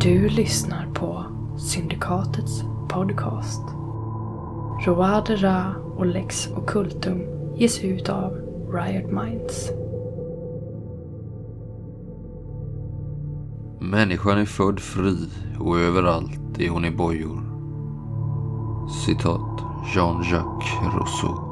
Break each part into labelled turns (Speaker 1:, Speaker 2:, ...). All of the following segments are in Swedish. Speaker 1: Du lyssnar på Syndikatets podcast. Roade Ra och Lex Occultum ges ut av Riot Minds.
Speaker 2: Människan är född fri och överallt är hon i bojor. Citat Jean-Jacques Rousseau.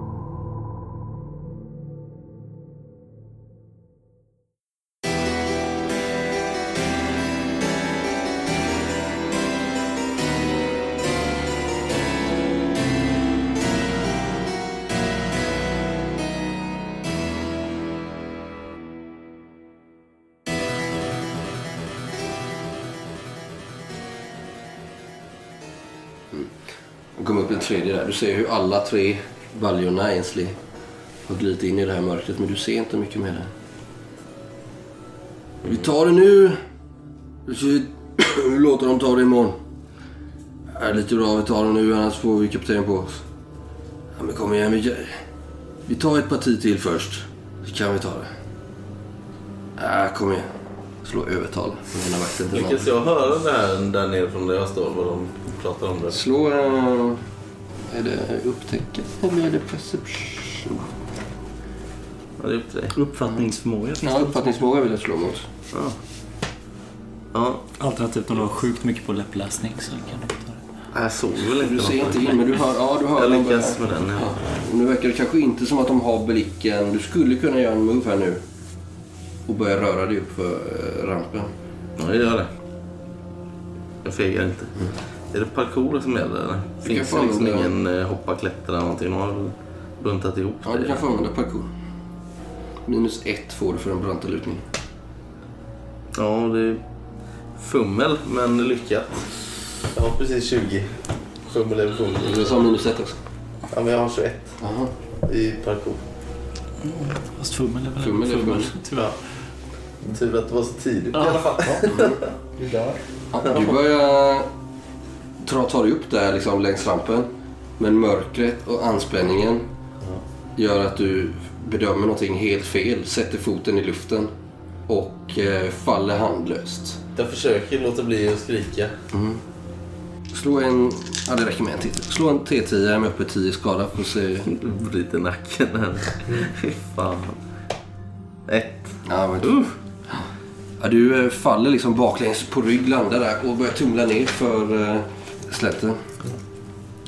Speaker 3: Och kom upp en tredje där. Du ser hur alla tre baljorna Ainsley har glidit in i det här mörkret men du ser inte mycket mer där. Vi tar det nu. Vi vi låter dem ta det imorgon. Det är lite bra vi tar det nu annars får vi kapten på oss. Ja, men kom igen. Vi, vi tar ett parti till först. Så kan vi ta det. Ja, kom igen. Slå övertal. Den här vakten till
Speaker 4: Lyckas jag höra det här där nere från där jag står vad de pratar om det?
Speaker 3: Slå... eh, Är det upptäcka eller är det perception?
Speaker 4: Ja, det är upp till dig.
Speaker 5: Uppfattningsförmåga finns
Speaker 3: Ja,
Speaker 5: det.
Speaker 3: uppfattningsmåga vill jag slå mot.
Speaker 4: Ja. Ja,
Speaker 5: Alternativt om du har sjukt mycket på läppläsning så kan du ta det.
Speaker 4: jag såg väl inte
Speaker 3: Du ser
Speaker 4: något.
Speaker 3: inte in, men du hör... Ja, du hör
Speaker 4: Jag
Speaker 3: dem
Speaker 4: lyckas
Speaker 3: börja-
Speaker 4: med den.
Speaker 3: Ja.
Speaker 4: Ja.
Speaker 3: Och Nu verkar det kanske inte som att de har blicken. Du skulle kunna göra en move här nu och börja röra dig upp för eh, rampen.
Speaker 4: ja, jag gör det. Jag fegar inte. Är det parkour som gäller eller?
Speaker 3: Du kan
Speaker 4: Finns
Speaker 3: få
Speaker 4: Mm. det liksom
Speaker 3: använda-
Speaker 4: ingen eh, hoppa, klättra eller någonting? De har väl buntat ihop
Speaker 3: Ja, du kan få använda parkour. Minus ett får du för en branta lutning.
Speaker 4: Ja, det är fummel men lyckat. Jag har precis 20. Fummel är fummel.
Speaker 3: Du sa minus ett också.
Speaker 4: Ja, men jag har 21
Speaker 3: Aha.
Speaker 4: i parkour.
Speaker 5: Fast fummel är väl
Speaker 3: Fummel är fummel.
Speaker 5: Tyvärr.
Speaker 4: Tur att det var så tidigt
Speaker 5: Ja. alla
Speaker 4: fall.
Speaker 3: Ja, du börjar ta, ta dig upp där liksom längs rampen. Men mörkret och anspänningen gör att du bedömer någonting helt fel. Sätter foten i luften och eh, faller handlöst.
Speaker 4: Jag försöker låta bli att skrika.
Speaker 3: Slå en... Ja, det räcker med en T10. Slå en T10 med uppe 10 skada för att se...
Speaker 4: Du bryter nacken här. Fy fan. Ett.
Speaker 3: Ja, men... Ja, du eh, faller liksom baklänges på rygg, landar där och börjar tumla ner för eh, slätten.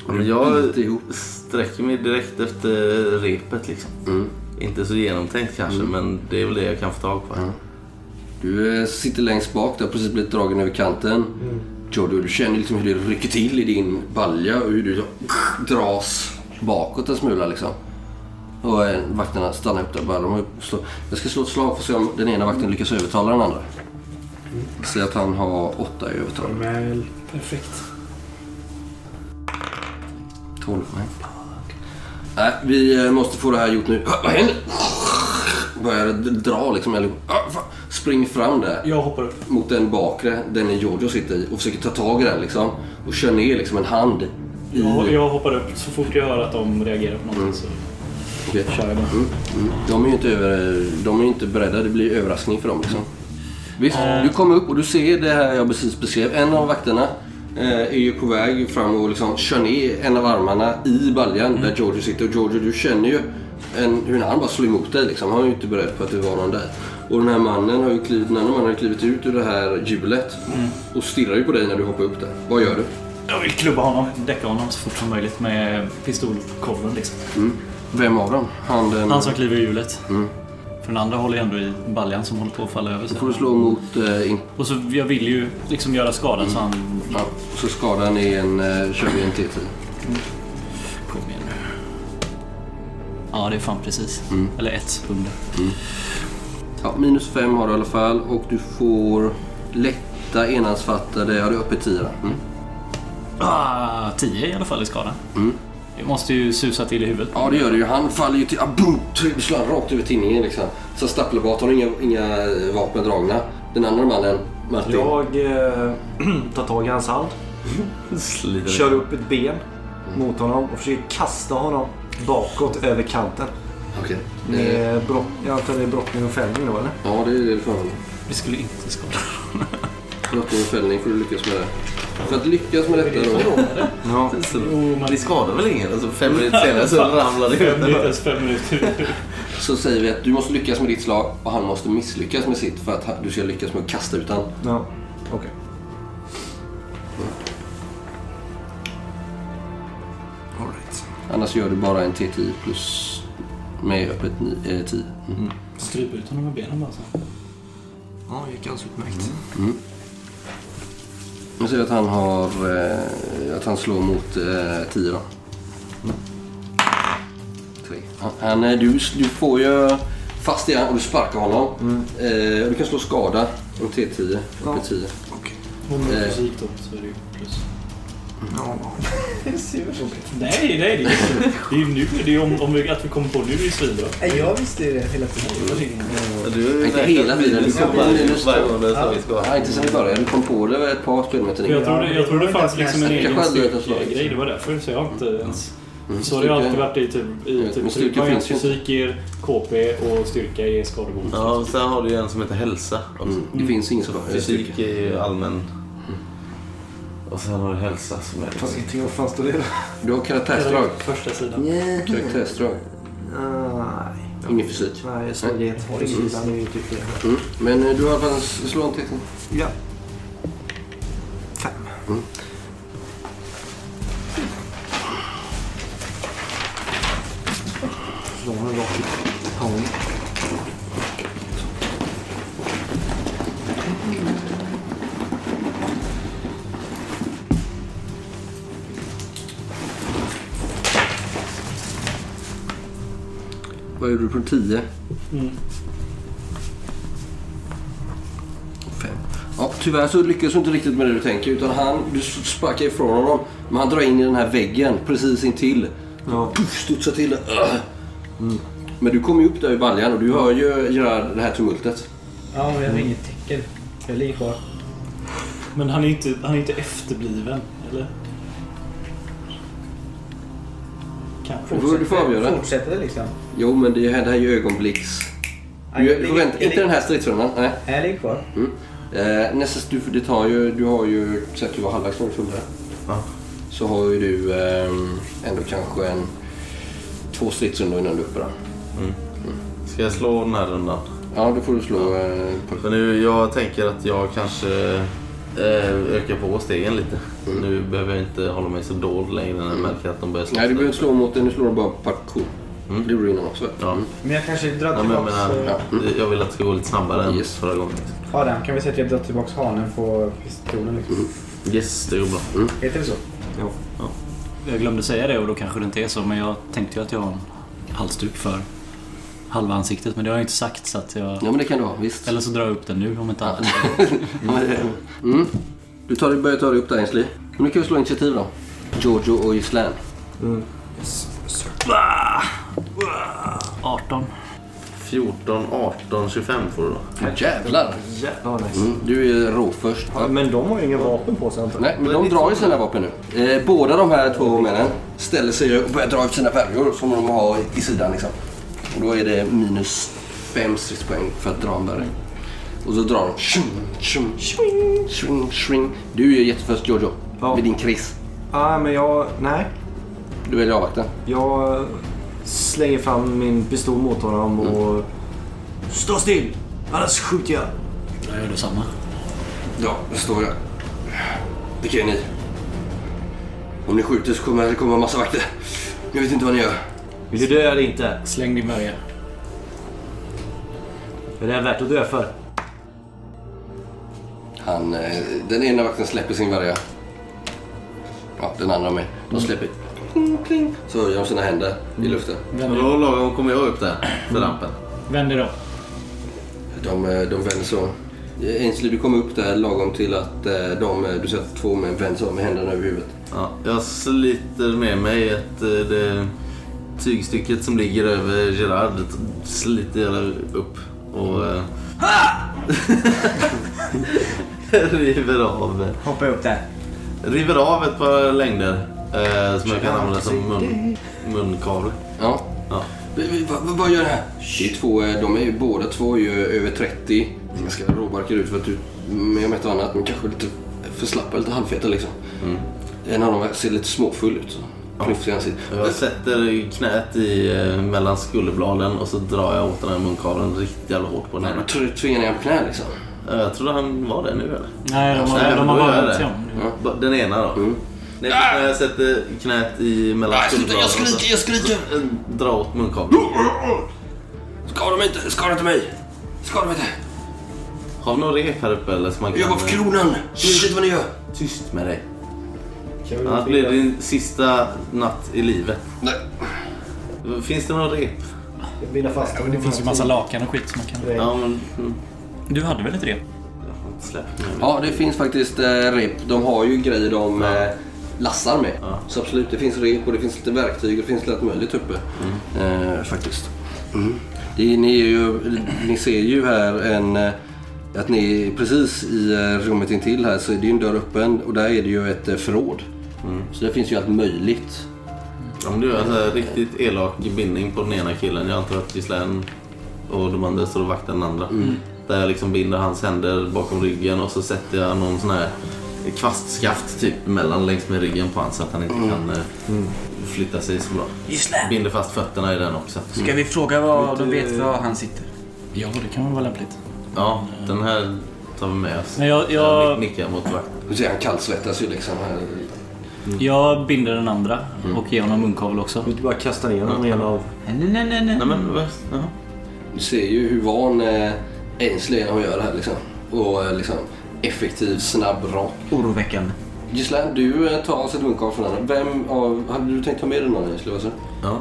Speaker 4: Ja, men jag
Speaker 3: Biter ihop.
Speaker 4: sträcker mig direkt efter repet liksom.
Speaker 3: Mm.
Speaker 4: Inte så genomtänkt kanske, men det är väl det jag kan få tag på.
Speaker 3: Du eh, sitter längst bak, du har precis blivit dragen över kanten.
Speaker 6: Mm.
Speaker 3: Joddo, du känner liksom hur det rycker till i din balja och hur du så, dras bakåt en smula liksom. Och eh, vakterna stannar upp där bara. De har slå, jag ska slå ett slag för att se om den ena vakten lyckas övertala den andra. Säg att han har åtta i övertal.
Speaker 6: Mm. Väl. Perfekt.
Speaker 3: 12. Nej. Nej, vi eh, måste få det här gjort nu. Vad händer? Börjar d- dra liksom. Eller, Ah, fan. Spring fram där.
Speaker 6: Jag hoppar upp.
Speaker 3: mot den bakre, den Giorgio sitter i och försöker ta tag i den liksom. Och kör ner liksom en hand i...
Speaker 6: Jag, jag hoppar upp så fort jag hör att de reagerar på
Speaker 3: Mm.
Speaker 6: någonting så
Speaker 3: Okej.
Speaker 6: kör jag bara.
Speaker 3: Mm. De är ju inte, över, de är ju inte beredda, det blir överraskning för dem liksom. Visst, du kommer upp och du ser det här jag precis beskrev. En av vakterna eh, är ju på väg fram och liksom kör ner en av armarna i baljan
Speaker 5: Mm.
Speaker 3: där Giorgio sitter. Och Giorgio, du känner ju en, hur en arm bara slår emot dig liksom. Han är ju inte beredd på att det var någon där. Och den här mannen har ju klivit, den andra mannen har ju klivit ut ur det här hjulet
Speaker 5: Mm.
Speaker 3: och stirrar ju på dig när du hoppar upp där. Vad gör du?
Speaker 5: Jag vill klubba honom, däcka honom så fort som möjligt med pistolkolven liksom.
Speaker 3: Mm. Vem av dem? Han den...
Speaker 5: Han som kliver i hjulet. För den andra håller ju ändå i baljan som håller på att falla över.
Speaker 3: Mm. Då får du
Speaker 5: Så.
Speaker 3: slå mot... Eh, in...
Speaker 5: Och så jag vill ju liksom göra skada så
Speaker 3: Mm.
Speaker 5: han...
Speaker 3: ja, så skadan är en... Eh, kör vi en T10.
Speaker 5: Kom igen nu. Ja, det är fan precis.
Speaker 3: Mm.
Speaker 5: Eller ett under.
Speaker 3: Ja, minus 5 har du i alla fall och du får lätta enhandsfattade... Ja, du är uppe i 10 där. mm.
Speaker 5: Ah, tio i alla fall i skada.
Speaker 6: Mm.
Speaker 5: Det måste ju susa till i huvudet.
Speaker 3: Ja, det gör du ju. Han faller ju till... Ah, boom! Tre- Slår han rakt över tinningen liksom. Så stappelbart har du inga, inga eh, vapen dragna. Den andra mannen, Martin.
Speaker 7: Jag eh, tar tag i hans hand,
Speaker 4: Sliter lite.
Speaker 7: kör upp ett ben mot honom och försöker kasta honom bakåt över kanten.
Speaker 3: Okej. Eh,
Speaker 7: Med brott, jag antar det är brottning och fällning då eller?
Speaker 3: ja, det är det du får använda.
Speaker 5: Vi skulle inte skada.
Speaker 3: Du har haft en fällning för att lyckas med det. För att lyckas med detta då.
Speaker 7: Ja.
Speaker 4: Så, det skadar väl ingen? Alltså, fem minuter senare så ramlar det
Speaker 6: Fem
Speaker 4: ut.
Speaker 6: minuter, fem minuter.
Speaker 3: Så säger vi att du måste lyckas med ditt slag och han måste misslyckas med sitt för att ha- du ska lyckas med att kasta ut han.
Speaker 7: ja. Okej. Alright.
Speaker 3: Annars gör du bara en T10 plus med öppet ni- eh, 10. Mm.
Speaker 6: Stryp ut honom med benen bara så.
Speaker 7: Ja, det gick alldeles utmärkt.
Speaker 3: Jag säger att han har... Eh, att han slår mot eh, 10 då. Tre. Han- Han, eh, du, du får ju fast i han och du sparkar honom.
Speaker 6: Mm.
Speaker 3: Eh, och du kan slå skada. En T10.
Speaker 7: Ja.
Speaker 3: Uppe 10.
Speaker 7: Okej.
Speaker 6: Om det
Speaker 3: Eh.
Speaker 6: är fysik då så är det ju plus.
Speaker 7: Ja.
Speaker 6: Nej, nej. Det är, det är ju nu. Det är ju om, om vi, att vi kommer på nu är ju svinbra.
Speaker 8: Nej, jag visste ju det hela
Speaker 3: Mm.
Speaker 8: tiden.
Speaker 4: Du
Speaker 3: Inte hela tiden, du kommer in i det
Speaker 4: varje gång det är så
Speaker 3: Ja, inte sen vi började. Du kom på det ett par
Speaker 6: För
Speaker 3: spelmeter
Speaker 6: Jag
Speaker 3: in.
Speaker 6: trodde, jag trodde det fanns liksom en egen
Speaker 3: Kanske hade jag slagit.
Speaker 6: styrkegrej. Det var därför. Så jag har inte ens...
Speaker 3: Mm.
Speaker 6: Så har det ju
Speaker 3: Styrka-
Speaker 6: alltid varit i typ... I
Speaker 3: Men
Speaker 6: typ
Speaker 3: styrka
Speaker 6: man har ju
Speaker 3: finns ju inte.
Speaker 6: fysik ger KP och styrka ger skadebonus.
Speaker 4: Ja, och sen har du ju en som heter hälsa också.
Speaker 3: Mm. Det finns ingen skada.
Speaker 4: Fysik är ju allmän. Och sen har du hälsa som är...
Speaker 7: Fast ingenting vad fan står det då?
Speaker 3: Du har karaktärsdrag.
Speaker 6: Första sidan.
Speaker 7: Nej.
Speaker 3: Karaktärsdrag.
Speaker 7: Nej,
Speaker 3: Ingen fysik.
Speaker 7: nej, jag slog det. Sidan är ju typ det.
Speaker 3: Mm. Men eh, du har i alla fall slå en T10.
Speaker 7: Ja. Fem. Slår man en rak i pannan.
Speaker 3: Vad gjorde du på 10?
Speaker 6: Mm.
Speaker 3: Fem. Ja, tyvärr så lyckas du inte riktigt med det du tänker utan han, du sparkar ifrån honom men han drar in i den här väggen precis intill.
Speaker 7: Ja.
Speaker 3: Puff, studsar till den. Ugh. Men du kommer ju upp där i baljan och du hör ju Gerard, det här tumultet.
Speaker 8: Ja, men jag har inget tecken. Jag ligger kvar.
Speaker 6: Men han är inte, han är inte efterbliven, eller? Kanske.
Speaker 3: får du få avgöra.
Speaker 8: Fortsätter det liksom?
Speaker 3: Jo men det här, det här är ju ögonblicks...
Speaker 8: Nej,
Speaker 3: Du,
Speaker 8: jag
Speaker 3: du
Speaker 8: ligger-
Speaker 3: får vänta,
Speaker 8: jag
Speaker 3: inte
Speaker 8: ligger-
Speaker 3: den här stridsrundan. Nej.
Speaker 8: Nej, Jag ligger kvar.
Speaker 3: Mm. Eh, nästa, du, det tar ju, du har ju, så att du var halvvägs när du fullade.
Speaker 4: Ja.
Speaker 3: Så har ju du ehm, ändå kanske en, två stridsrundor innan du är uppe där.
Speaker 4: Ska jag slå den här rundan?
Speaker 3: Ja, då får du slå eh, på
Speaker 4: För nu, jag tänker att jag kanske eh, ökar på stegen lite. Nu behöver jag inte hålla mig så dold längre när jag märker att de börjar slå.
Speaker 3: Nej, du behöver inte slå mot den. Du slår bara parkour.
Speaker 4: Mm.
Speaker 3: Det gjorde du innan också. va?
Speaker 4: Ja.
Speaker 8: Men jag kanske drar
Speaker 4: Ja, Mm. men jag,
Speaker 8: tillbaks...
Speaker 4: menar,
Speaker 8: eh,
Speaker 4: jag vill att det ska gå lite snabbare än
Speaker 3: Yes.
Speaker 4: förra gången.
Speaker 8: Adam, kan vi säga att jag drar tillbaks hanen på pistolen liksom?
Speaker 3: Mm.
Speaker 4: Yes, det går bra.
Speaker 8: Heter det så?
Speaker 5: Jag glömde säga det och då kanske det inte är så men jag tänkte ju att jag har en halsduk för halva ansiktet men det har jag inte sagt så att jag...
Speaker 3: Ja, men det kan du ha. Visst.
Speaker 5: Eller så drar jag upp den nu om inte annat.
Speaker 3: Mm. Du tar, börjar ta dig upp där, Ainsley. Men nu kan vi slå initiativ då. Jojo och Gislaine.
Speaker 5: 18.
Speaker 4: 14, 18, 25 får du då.
Speaker 3: Jävlar!
Speaker 7: Jävlar vad nice.
Speaker 3: Mm. Du är rå först.
Speaker 7: Ja, men de har ju inga vapen på sig antar jag.
Speaker 3: Nej, men de drar ju sina vapen nu. Eh, båda de här två männen ställer sig och börjar dra ut sina värjor som de har i sidan. Liksom. Och då är det minus fem stridspoäng för att dra en värja. Och så drar de. Tjum, tjum, tjum, tjum, tjum. Du är ju jätteförst Jojo.
Speaker 7: Ja.
Speaker 3: Med din kris.
Speaker 7: Ah, men jag... Nej.
Speaker 3: Du väljer avvakta.
Speaker 7: Jag slänger fram min pistol mot honom och... Stå still! Annars skjuter jag.
Speaker 5: Jag gör detsamma.
Speaker 3: Ja, det står jag. Vilka är ni? Om ni skjuter så kommer det komma en massa vakter. Jag vet inte vad ni gör.
Speaker 7: Vill du dö eller inte?
Speaker 5: Släng din börja.
Speaker 7: Är det här värt att dö för?
Speaker 3: Han, eh, den ena vakten släpper sin värja. Ja, den andra med. De släpper. Kling, kling. Så höjer de sina händer i luften.
Speaker 4: Och då lagom kommer jag upp där för rampen.
Speaker 6: Vänd er då.
Speaker 3: De, eh, de vänder sig om. Eh, Ainsley, du kommer upp där lagom till att eh, de, eh, du ser att två män vänder sig om med händerna över huvudet.
Speaker 4: Ja, jag sliter med mig ett, eh, det tygstycket som ligger över Gerard. Sliter jag upp och... eh, river av
Speaker 8: Hoppa upp där.
Speaker 4: river av ett par längder eh, som jag kan använda som mun, munkavle.
Speaker 3: Ja.
Speaker 4: Ja.
Speaker 3: Eh, "V- v- Vad gör ni här? Shit, två, eh, de är ju båda två ju över 30. Ganska råbarkade ut för att du, med om ett och annat, men kanske lite för slappa, lite halvfeta liksom. En av dem ser lite småfull ut. Så. klyftig i ansiktet.
Speaker 4: Jag sätter knät i, eh, mellan skulderbladen och så drar jag åt den här munkaveln riktigt jävla hårt på den
Speaker 3: Nej,
Speaker 4: här.
Speaker 3: men tr- Tvingar ner en knä liksom.
Speaker 4: Eh, Jag trodde han var det nu eller?
Speaker 5: Nej, de har,
Speaker 4: Nej,
Speaker 5: de
Speaker 4: men
Speaker 5: har
Speaker 4: då
Speaker 5: bara
Speaker 4: gör jag
Speaker 5: vänt sig
Speaker 4: det.
Speaker 5: om.
Speaker 4: Ba- Den ena då?
Speaker 3: Mm.
Speaker 4: Nej, när jag sätter knät i mellan
Speaker 3: Nej, sluta,
Speaker 4: skulderbladen
Speaker 3: jag skriker, jag skriker!
Speaker 4: och så, eh, drar åt munkaveln.
Speaker 3: Skada mig inte, skada inte mig! Skada mig inte!
Speaker 4: Har vi några rep här uppe eller? Så man
Speaker 3: Jag jobbar
Speaker 4: kan,
Speaker 3: för
Speaker 4: eh,
Speaker 3: kronan! Shit vad ni gör!
Speaker 4: Tyst med dig.
Speaker 8: Kan vi
Speaker 4: Annars blir det din sista natt i livet.
Speaker 3: Nej.
Speaker 4: Finns det någon rep?
Speaker 7: Binda fast
Speaker 5: Det finns ju massa lakan och skit som man kan...
Speaker 4: Ja, men... mm,
Speaker 5: Du hade väl ett rep?
Speaker 4: Jag har inte släppt mig.
Speaker 3: Ja, det finns faktiskt eh, rep. De har ju grejer de eh, lassar med.
Speaker 4: Ja.
Speaker 3: Så absolut, det finns rep och det finns lite verktyg och det finns lite möjligt uppe. Eh, faktiskt. Det, ni, är ju, ni ser ju här en... eh, Att ni är precis i eh, rummet intill här så är det ju en dörr öppen och där är det ju ett eh, förråd. Så där finns ju allt möjligt.
Speaker 4: Om du gör en så här riktigt elak bindning på den ena killen, jag antar att gisslan och de andra står och vaktar den andra. Där jag liksom binder hans händer bakom ryggen och så sätter jag någon sån här kvastskaft typ mellan längs med ryggen på honom så att han inte kan eh, flytta sig så bra.
Speaker 9: Gisslan!
Speaker 4: Binder fast fötterna i den också.
Speaker 9: Ska vi fråga var de vet var han sitter?
Speaker 5: Ja, det kan väl vara lämpligt.
Speaker 4: Ja, den här tar vi med oss.
Speaker 5: Men jag,
Speaker 4: Jag
Speaker 5: jag,
Speaker 4: nickar mot vakten.
Speaker 3: Du ser han kallsvettas ju liksom. Här.
Speaker 5: jag binder den andra
Speaker 4: Mm.
Speaker 5: och ger honom munkavel också.
Speaker 7: Du bara kastar ner honom i en av...
Speaker 9: Nej, nej, nej, nej.
Speaker 4: Nej men, vad- jaha.
Speaker 3: Du ser ju hur van eh, Ainsley är när hon gör det här liksom. Och eh, liksom effektiv, snabb, rak.
Speaker 9: Oroväckande.
Speaker 3: Gislan, du eh, tar alltså ett munkavle från henne. Vem av... Hade du tänkt ta med dig någon Ainsley? Alltså?
Speaker 4: Ja.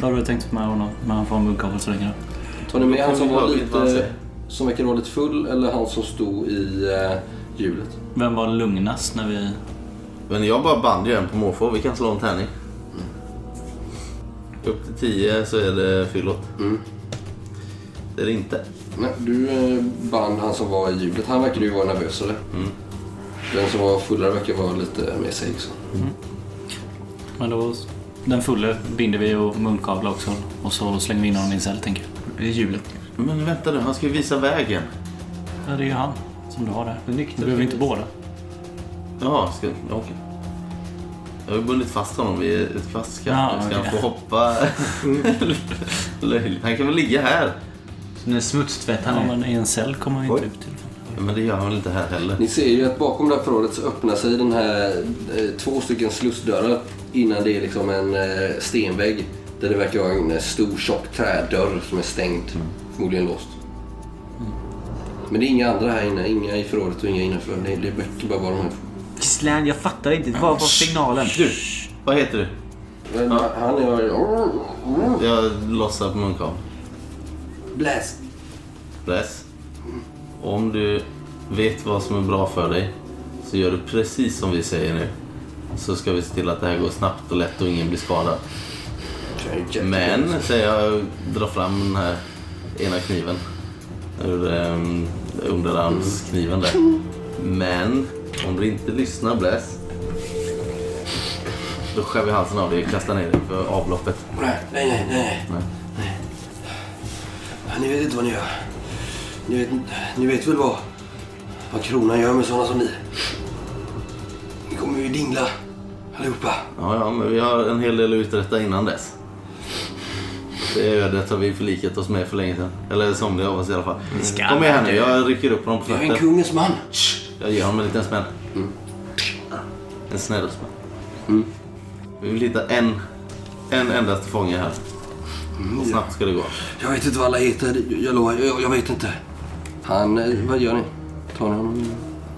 Speaker 5: Då har du tänkt med honom, men han får en munkavel så länge då.
Speaker 3: Tar ni med han som
Speaker 4: vi
Speaker 3: var
Speaker 4: höra lite vad han
Speaker 3: lite...
Speaker 4: säger.
Speaker 3: Som verkar vara lite full eller han som stod i eh, hjulet?
Speaker 5: Vem var lugnast när vi...
Speaker 4: Men jag bara band ju en på måfå, vi kan slå en tärning.
Speaker 5: Mm.
Speaker 4: Upp till 10 så är det fyllot.
Speaker 3: Mm.
Speaker 4: Det är det inte.
Speaker 3: Nej, du eh, band han som var i hjulet. Han verkar ju vara nervösare.
Speaker 4: Mm.
Speaker 3: Den som var fullare verkar vara lite mer seg. så.
Speaker 5: Men då... Den fulle binder vi och munkavlar också. Och så slänger vi in honom i en cell, tänker jag.
Speaker 9: Det är hjulet.
Speaker 4: Men vänta nu, han ska ju visa vägen.
Speaker 5: Ja, det är ju han som du har där. Du behöver inte båda.
Speaker 4: Jaha, ska... ja, okej. Jag har ju bundit fast honom vid ett kvastskaft.
Speaker 5: Ja,
Speaker 4: ska
Speaker 5: okej. Mm.
Speaker 4: han få hoppa? Löjligt. han kan väl ligga här?
Speaker 9: Som den smutstvätt han
Speaker 5: Ja,
Speaker 9: är.
Speaker 5: men i en cell kommer han ju inte ut till.
Speaker 4: Men det gör han väl inte här heller?
Speaker 3: Ni ser ju att bakom det här förrådet så öppnar sig den här eh, två stycken slussdörrar innan det är liksom en eh, stenvägg där det verkar vara en eh, stor tjock trädörr som är stängd, förmodligen låst. Men det är inga andra här inne, inga i förrådet och inga innanför. Det, det verkar bara vara de här.
Speaker 9: Gisslan, jag fattar inte. Vad var signalen?
Speaker 4: Du, vad heter du?
Speaker 3: Men Han
Speaker 4: Mm.
Speaker 3: är...
Speaker 4: Jag lossar på munkaveln.
Speaker 3: Bläs!
Speaker 4: Press. Om du vet vad som är bra för dig så gör du precis som vi säger nu. Så ska vi se till att det här går snabbt och lätt och ingen blir skadad. Men, säger jag drar fram den här ena kniven. Ur um, underarmskniven där. Men, om du inte lyssnar Bläs. Då skär vi halsen av dig och kastar ner dig för avloppet.
Speaker 3: Nej, nej, nej, nej.
Speaker 4: Nej.
Speaker 3: Nej. Ni vet inte vad ni gör. Ni vet, ni vet väl vad, vad kronan gör med sådana som ni? Ni kommer ju dingla allihopa.
Speaker 4: Ja, ja, men vi har en hel del att uträtta innan dess. Det ödet har vi förlikat oss med för länge sedan. Eller somliga av oss i alla fall.
Speaker 9: ska
Speaker 4: Kom igen här nu,
Speaker 9: inte.
Speaker 4: jag rycker upp honom på
Speaker 3: Jag är en Mm.
Speaker 4: fötter.
Speaker 3: kungens man.
Speaker 4: Jag ger honom en liten smäll. En snäll smäll.
Speaker 3: Mm.
Speaker 4: Vi vill hitta en, en endaste fånge här.
Speaker 3: Mm.
Speaker 4: Och snabbt ska det gå.
Speaker 3: Jag vet inte vad alla heter, jag lovar. Jag, jag vet inte. Han, eh, vad gör ni? Tar ni honom?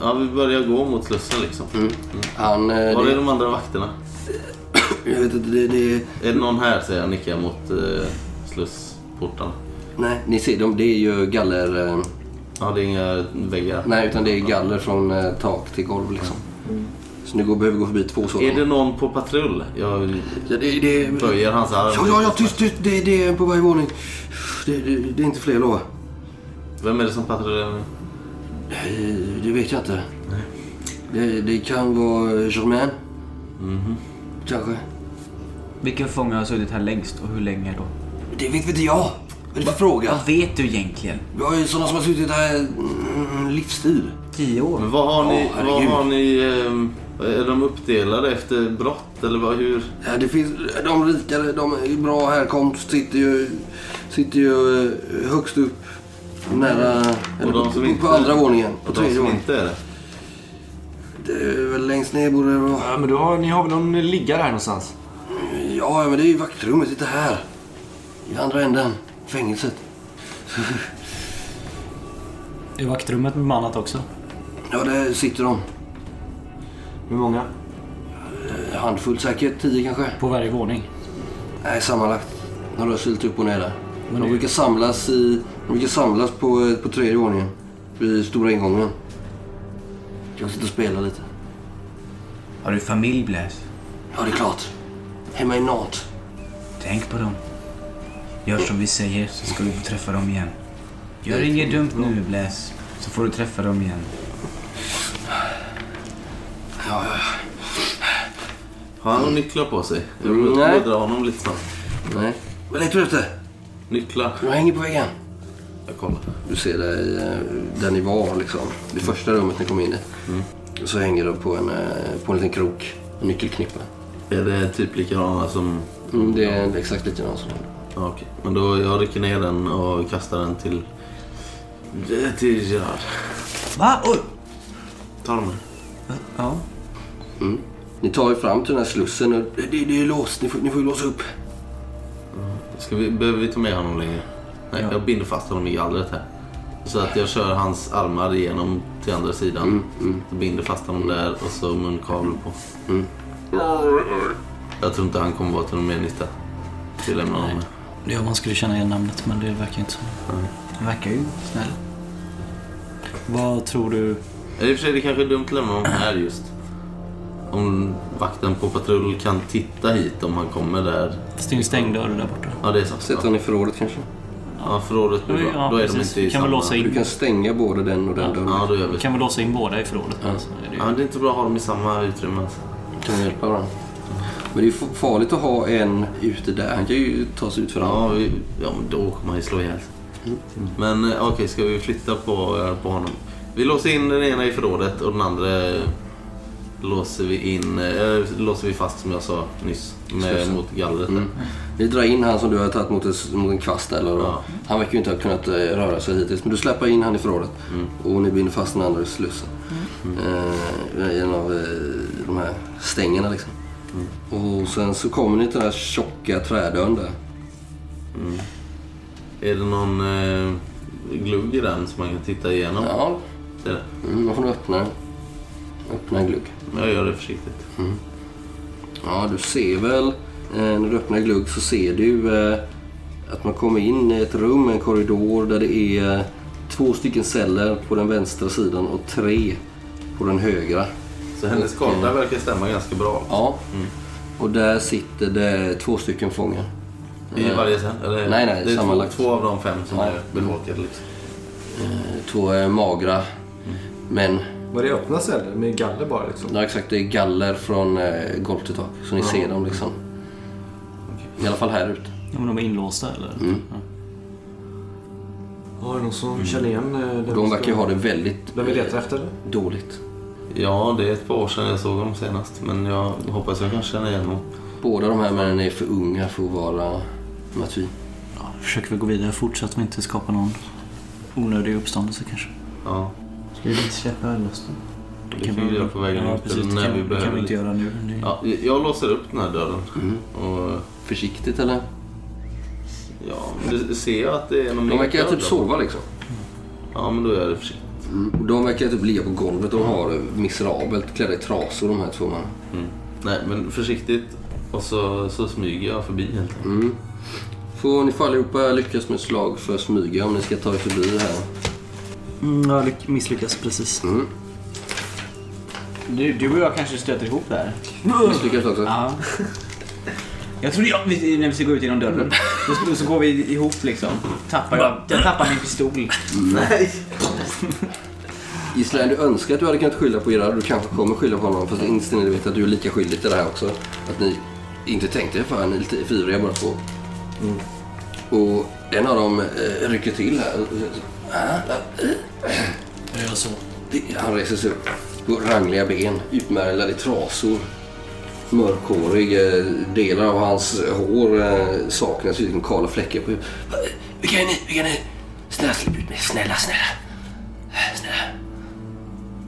Speaker 4: Ja, vi börjar gå mot slussen liksom.
Speaker 3: Han, eh,
Speaker 4: Var
Speaker 3: Mm, det,
Speaker 4: är de andra vakterna?
Speaker 3: jag vet inte, det, det,
Speaker 4: Är det någon här? Säger jag nickar mot eh, slussportarna.
Speaker 3: nej, ni ser dem, det är ju galler, eh,
Speaker 4: Ja, det är inga väggar.
Speaker 3: nej utan det är galler från eh, tak till golv liksom. Så ni går, behöver gå förbi två sådana.
Speaker 4: Mm. Är det någon på patrull? Jag
Speaker 3: Ja, det, det,
Speaker 4: böjer hans arm.
Speaker 3: Ja, ja, ja, tyst, tyst. Det, det är en på varje våning. Det, det, det är inte fler, jag lovar.
Speaker 4: Vem är det som patrullerar nu?
Speaker 3: Eh, Det vet jag inte. Det, det kan vara Germain. Kanske.
Speaker 4: Mhm.
Speaker 9: Vilken fånge har suttit här längst och hur länge då?
Speaker 3: Det vet inte jag. Vad är det för fråga?
Speaker 9: Vad vet du egentligen?
Speaker 3: Vi har ju sådana som har suttit här mm, livstid.
Speaker 9: Tio år?
Speaker 4: Men vad har ni...
Speaker 3: Åh, herregud.
Speaker 4: vad har ni ehm, är de uppdelade efter brott eller vad, hur?
Speaker 3: Ja, det finns, de rikare, de är bra härkomst sitter ju, sitter ju eh, högst upp. Nära,
Speaker 4: de
Speaker 3: eller på,
Speaker 4: som
Speaker 3: på,
Speaker 4: inte-
Speaker 3: på andra våningen. På
Speaker 4: Och de
Speaker 3: tredje
Speaker 4: som
Speaker 3: våningen.
Speaker 4: inte är det?
Speaker 3: Det är väl längst ner borde det vara.
Speaker 7: Ja, men du har, ni har väl någon liggare här någonstans?
Speaker 3: Ja, ja, men det är ju vaktrummet. Sitter här. I andra änden. Fängelset.
Speaker 5: Är vaktrummet bemannat också?
Speaker 3: Ja, där sitter de.
Speaker 7: Hur många?
Speaker 3: En handfull säkert. Tio kanske.
Speaker 5: På varje våning?
Speaker 3: Nej, sammanlagt. De rör sig lite upp och ner där. De brukar samlas, i, de brukar samlas på, eh, på tredje våningen. Vid stora ingången. Jag sitter och spelar lite.
Speaker 9: Har du familj Blaise?
Speaker 3: Ja, det är klart. Hemma i Nantes.
Speaker 9: Tänk på dem. Gör som vi säger så ska du få träffa dem igen. Gör inget dumt nu Blaise. Så får du träffa dem igen.
Speaker 4: Har han några nycklar på sig? Jag
Speaker 3: Mm,
Speaker 4: vill
Speaker 3: nej.
Speaker 4: dra honom lite snabbt.
Speaker 3: Nej. Vad letar du efter?
Speaker 4: Nycklar?
Speaker 3: De hänger på väggen.
Speaker 4: Jag kollar.
Speaker 3: Du ser där, i, eh, där ni var liksom. Det första rummet ni kom in i.
Speaker 4: Mm.
Speaker 3: Så hänger de på en, eh, på en liten krok. En nyckelknippa.
Speaker 4: Är det typ likadana som...
Speaker 3: Mm, det är exakt likadan som
Speaker 4: Ja, okej. Men då jag rycker ner den och kastar den till... Till Gerard.
Speaker 9: Va? Oj!
Speaker 4: Ta dem.
Speaker 9: Ja.
Speaker 3: Ni tar ju fram till den här slussen och det, det, det är låst. Ni får, ni får ju låsa upp.
Speaker 4: Ska vi, behöver vi ta med honom längre? Nej,
Speaker 9: Ja.
Speaker 4: jag binder fast honom i gallret här. Så att jag kör hans armar igenom till andra sidan.
Speaker 3: Mm,
Speaker 4: Jag binder fast honom där och så munkavle på.
Speaker 3: Mm.
Speaker 4: Jag tror inte han kommer vara till någon mer nytta. Vi lämnar honom här.
Speaker 5: Det är om man skulle känna igen namnet, men det verkar inte så.
Speaker 9: Han verkar ju snäll.
Speaker 5: Vad tror du?
Speaker 4: Eller i och för sig, det kanske är dumt att lämna honom här just. Om vakten på patrull kan titta hit om han kommer där.
Speaker 5: Fast det är en stängd dörr där borta.
Speaker 4: Ja, det är sant.
Speaker 3: Sätt
Speaker 4: Ja,
Speaker 3: den i förrådet kanske.
Speaker 4: ja förrådet blir bra.
Speaker 5: Ja,
Speaker 4: då är
Speaker 5: precis.
Speaker 4: de inte i
Speaker 5: Vi kan väl
Speaker 4: samma-
Speaker 5: låsa in.
Speaker 3: Du kan stänga både den och den dörren.
Speaker 4: Ja, då gör vi
Speaker 5: Vi
Speaker 4: så.
Speaker 5: kan väl låsa in båda i förrådet. Så är det ju-
Speaker 4: Ja, det är inte bra att ha dem i samma utrymme. Alltså.
Speaker 3: Kan hjälpa varandra. Men det är ju farligt att ha en ute där. Han kan ju ta sig ut för
Speaker 4: Ja, vi, ja men då kommer han ju slå ihjäl sig. Men eh, okej, ska vi flytta på, eh, på honom? Vi låser in den ena i förrådet och den andra eh, låser vi in eh, låser vi fast som jag sa nyss med,
Speaker 3: Slussen.
Speaker 4: mot gallret.
Speaker 3: Mm.
Speaker 4: där.
Speaker 3: Vi drar in han som du har tagit mot en, mot en kvast där. Eller?
Speaker 4: Ja.
Speaker 3: Han verkar ju inte ha kunnat eh, röra sig hittills. Men du släpper in han i förrådet. Och ni binder fast den andra i slussen. Eh, I en av eh, de här stängerna liksom. Och sen så kommer ni till den här tjocka trädörren där.
Speaker 4: Är det någon eh, glugg i den som man kan titta igenom?
Speaker 3: Ja,
Speaker 4: Det är det.
Speaker 3: mm, då får du öppna den. Öppna en glugg.
Speaker 4: Men Jag gör det försiktigt.
Speaker 3: Ja, du ser väl eh, när du öppnar glugg så ser du eh, att man kommer in i ett rum, en korridor där det är eh, två stycken celler på den vänstra sidan och tre på den högra.
Speaker 4: Så hennes karta verkar stämma ganska bra.
Speaker 3: eh, Ja. Och där sitter det två stycken fångar.
Speaker 4: I varje cell? Eller?
Speaker 3: Nej, nej,
Speaker 4: det är två,
Speaker 3: sammanlagt.
Speaker 4: två av de fem som
Speaker 3: Ja.
Speaker 4: är befolkade. Liksom.
Speaker 3: Eh, Två eh, magra män.
Speaker 7: Var det öppna celler med galler bara liksom?
Speaker 3: Ja, exakt. Det är galler från eh, golv till tak. Så ni ser dem liksom. I alla fall här ute. Mm.
Speaker 5: Ja, men de är inlåsta eller? Ja.
Speaker 7: Har det någon som känner igen eh,
Speaker 3: De
Speaker 7: den vi
Speaker 3: verkar
Speaker 7: ska-
Speaker 3: ju ha det väldigt
Speaker 7: Den vi letar
Speaker 3: eh,
Speaker 7: efter eller?
Speaker 3: dåligt.
Speaker 4: Ja, det är ett par år sedan jag såg dem senast. Men jag hoppas jag kan känna igen dem.
Speaker 3: Båda de här männen är för unga för att vara Mathy.
Speaker 5: Ja, försöker vi gå vidare fort så att vi inte skapar någon onödig uppståndelse kanske.
Speaker 4: Ja.
Speaker 9: Ska vi inte släppa lös dem?
Speaker 4: Det kan vi göra på vägen
Speaker 5: ja,
Speaker 4: ut
Speaker 5: precis,
Speaker 4: eller
Speaker 5: det
Speaker 4: när
Speaker 5: kan,
Speaker 4: vi
Speaker 5: det
Speaker 4: behöver
Speaker 5: kan vi inte
Speaker 4: lite.
Speaker 5: göra nu. Det,
Speaker 4: Ja, jag låser upp den här dörren.
Speaker 3: Mm.
Speaker 4: Och,
Speaker 3: Försiktigt eller?
Speaker 4: ja, men det- ser jag att det är någon
Speaker 3: De
Speaker 4: mer
Speaker 3: verkar
Speaker 4: dörr
Speaker 3: typ
Speaker 4: då?
Speaker 3: sova liksom.
Speaker 4: Ja, men då gör jag det försiktigt.
Speaker 3: Mm, och De verkar typ ligga på golvet. De har det miserabelt klädda i trasor de här två männen.
Speaker 4: Nej, men försiktigt. Och så, så smyger jag förbi helt enkelt.
Speaker 3: Får ni får allihopa lyckas med ett slag för att smyga om ni ska ta er förbi det här.
Speaker 5: Mm, jag lyck- misslyckas precis.
Speaker 4: Mm.
Speaker 9: Du, du och jag kanske stöter ihop där.
Speaker 4: Mm.
Speaker 3: Misslyckas också.
Speaker 9: Ja. Jag trodde jag, vi- när vi ska gå ut genom dörren, då så, så går vi ihop liksom. Tappar jag, jag tappar min pistol.
Speaker 3: Gislaine, du önskar att du hade kunnat skylla på Gerard. Du kanske kommer skylla på honom. Fast
Speaker 5: Mm.
Speaker 3: innerst inne vet jag att du är lika
Speaker 5: Mm.
Speaker 3: skyldig till det här också. Att ni inte tänkte för Ni är lite för ivriga bara på. Och en av dem eh, rycker till här. Ah,
Speaker 5: Jag gör så.
Speaker 3: Det- Han reser sig upp på rangliga ben, utmärglade i trasor. Mörkhårig, eh, delar av hans hår eh, saknas utan kala fläckar på huvudet. Eh, Vilka är ni? Vilka är ni? Snälla släpp ut mig. Snälla, snälla. Eh, Snälla.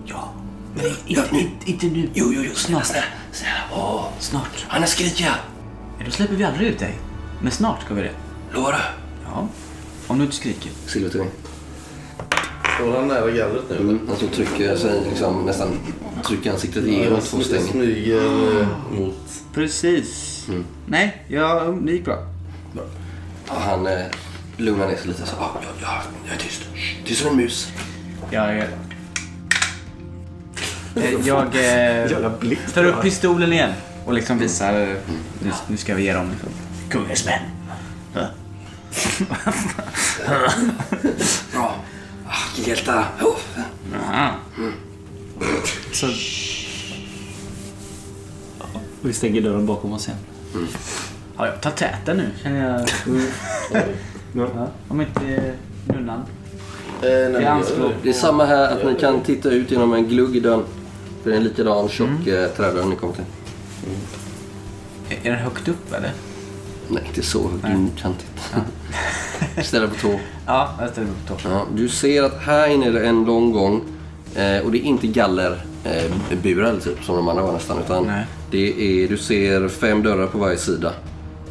Speaker 3: Ja. ja ni.
Speaker 9: Inte nu.
Speaker 3: Jo, jo, jo. Snälla, snälla. snälla. Åh.
Speaker 9: Snart.
Speaker 3: Annars skriker jag.
Speaker 9: Ja, Då släpper vi aldrig ut dig. Men snart ska vi det.
Speaker 3: Lovar du?
Speaker 9: Ja. Om du inte skriker.
Speaker 4: Mm.
Speaker 3: Silver till mig.
Speaker 4: Står han nära gallret nu? eller?
Speaker 3: Mm. Alltså trycker sig liksom nästan trycker ansiktet igenom två
Speaker 4: Jag
Speaker 3: stänger.
Speaker 4: smyger eh, mot...
Speaker 9: Precis. Nej, ja, det gick bra.
Speaker 3: Ja, han eh, lugnar ner sig lite. Så, ah, ja, ja, jag är tyst. Shh, Tyst som en mus.
Speaker 9: Jag... eh, eh, Jag eh, tar upp pistolen igen och liksom visar... eh, Nu, nu ska vi ge dem liksom. Kungens män.
Speaker 3: Bra. Ah, hjältar. Oh.
Speaker 9: Aha.
Speaker 5: så... Och vi stänger dörren bakom oss igen.
Speaker 9: Ja, Mm. jag tar täten nu känner jag. Ja, om inte eh, nunnan.
Speaker 4: Eh,
Speaker 9: Det är anspråk.
Speaker 3: Det är samma här att ni kan titta ut genom en glugg i dörren. För det är en likadan tjock mm. trädörr ni kom till.
Speaker 9: Är den högt upp eller?
Speaker 3: Nej, inte så högt. Du kan titta. Ställa på tå.
Speaker 9: Ja, jag ställer upp på topp.
Speaker 3: Ja, du ser att här inne är det en lång gång. Eh, och det är inte gallerburar eh, burar, typ, som de andra var nästan. Utan
Speaker 9: Nej.
Speaker 3: det är, du ser fem dörrar på varje sida.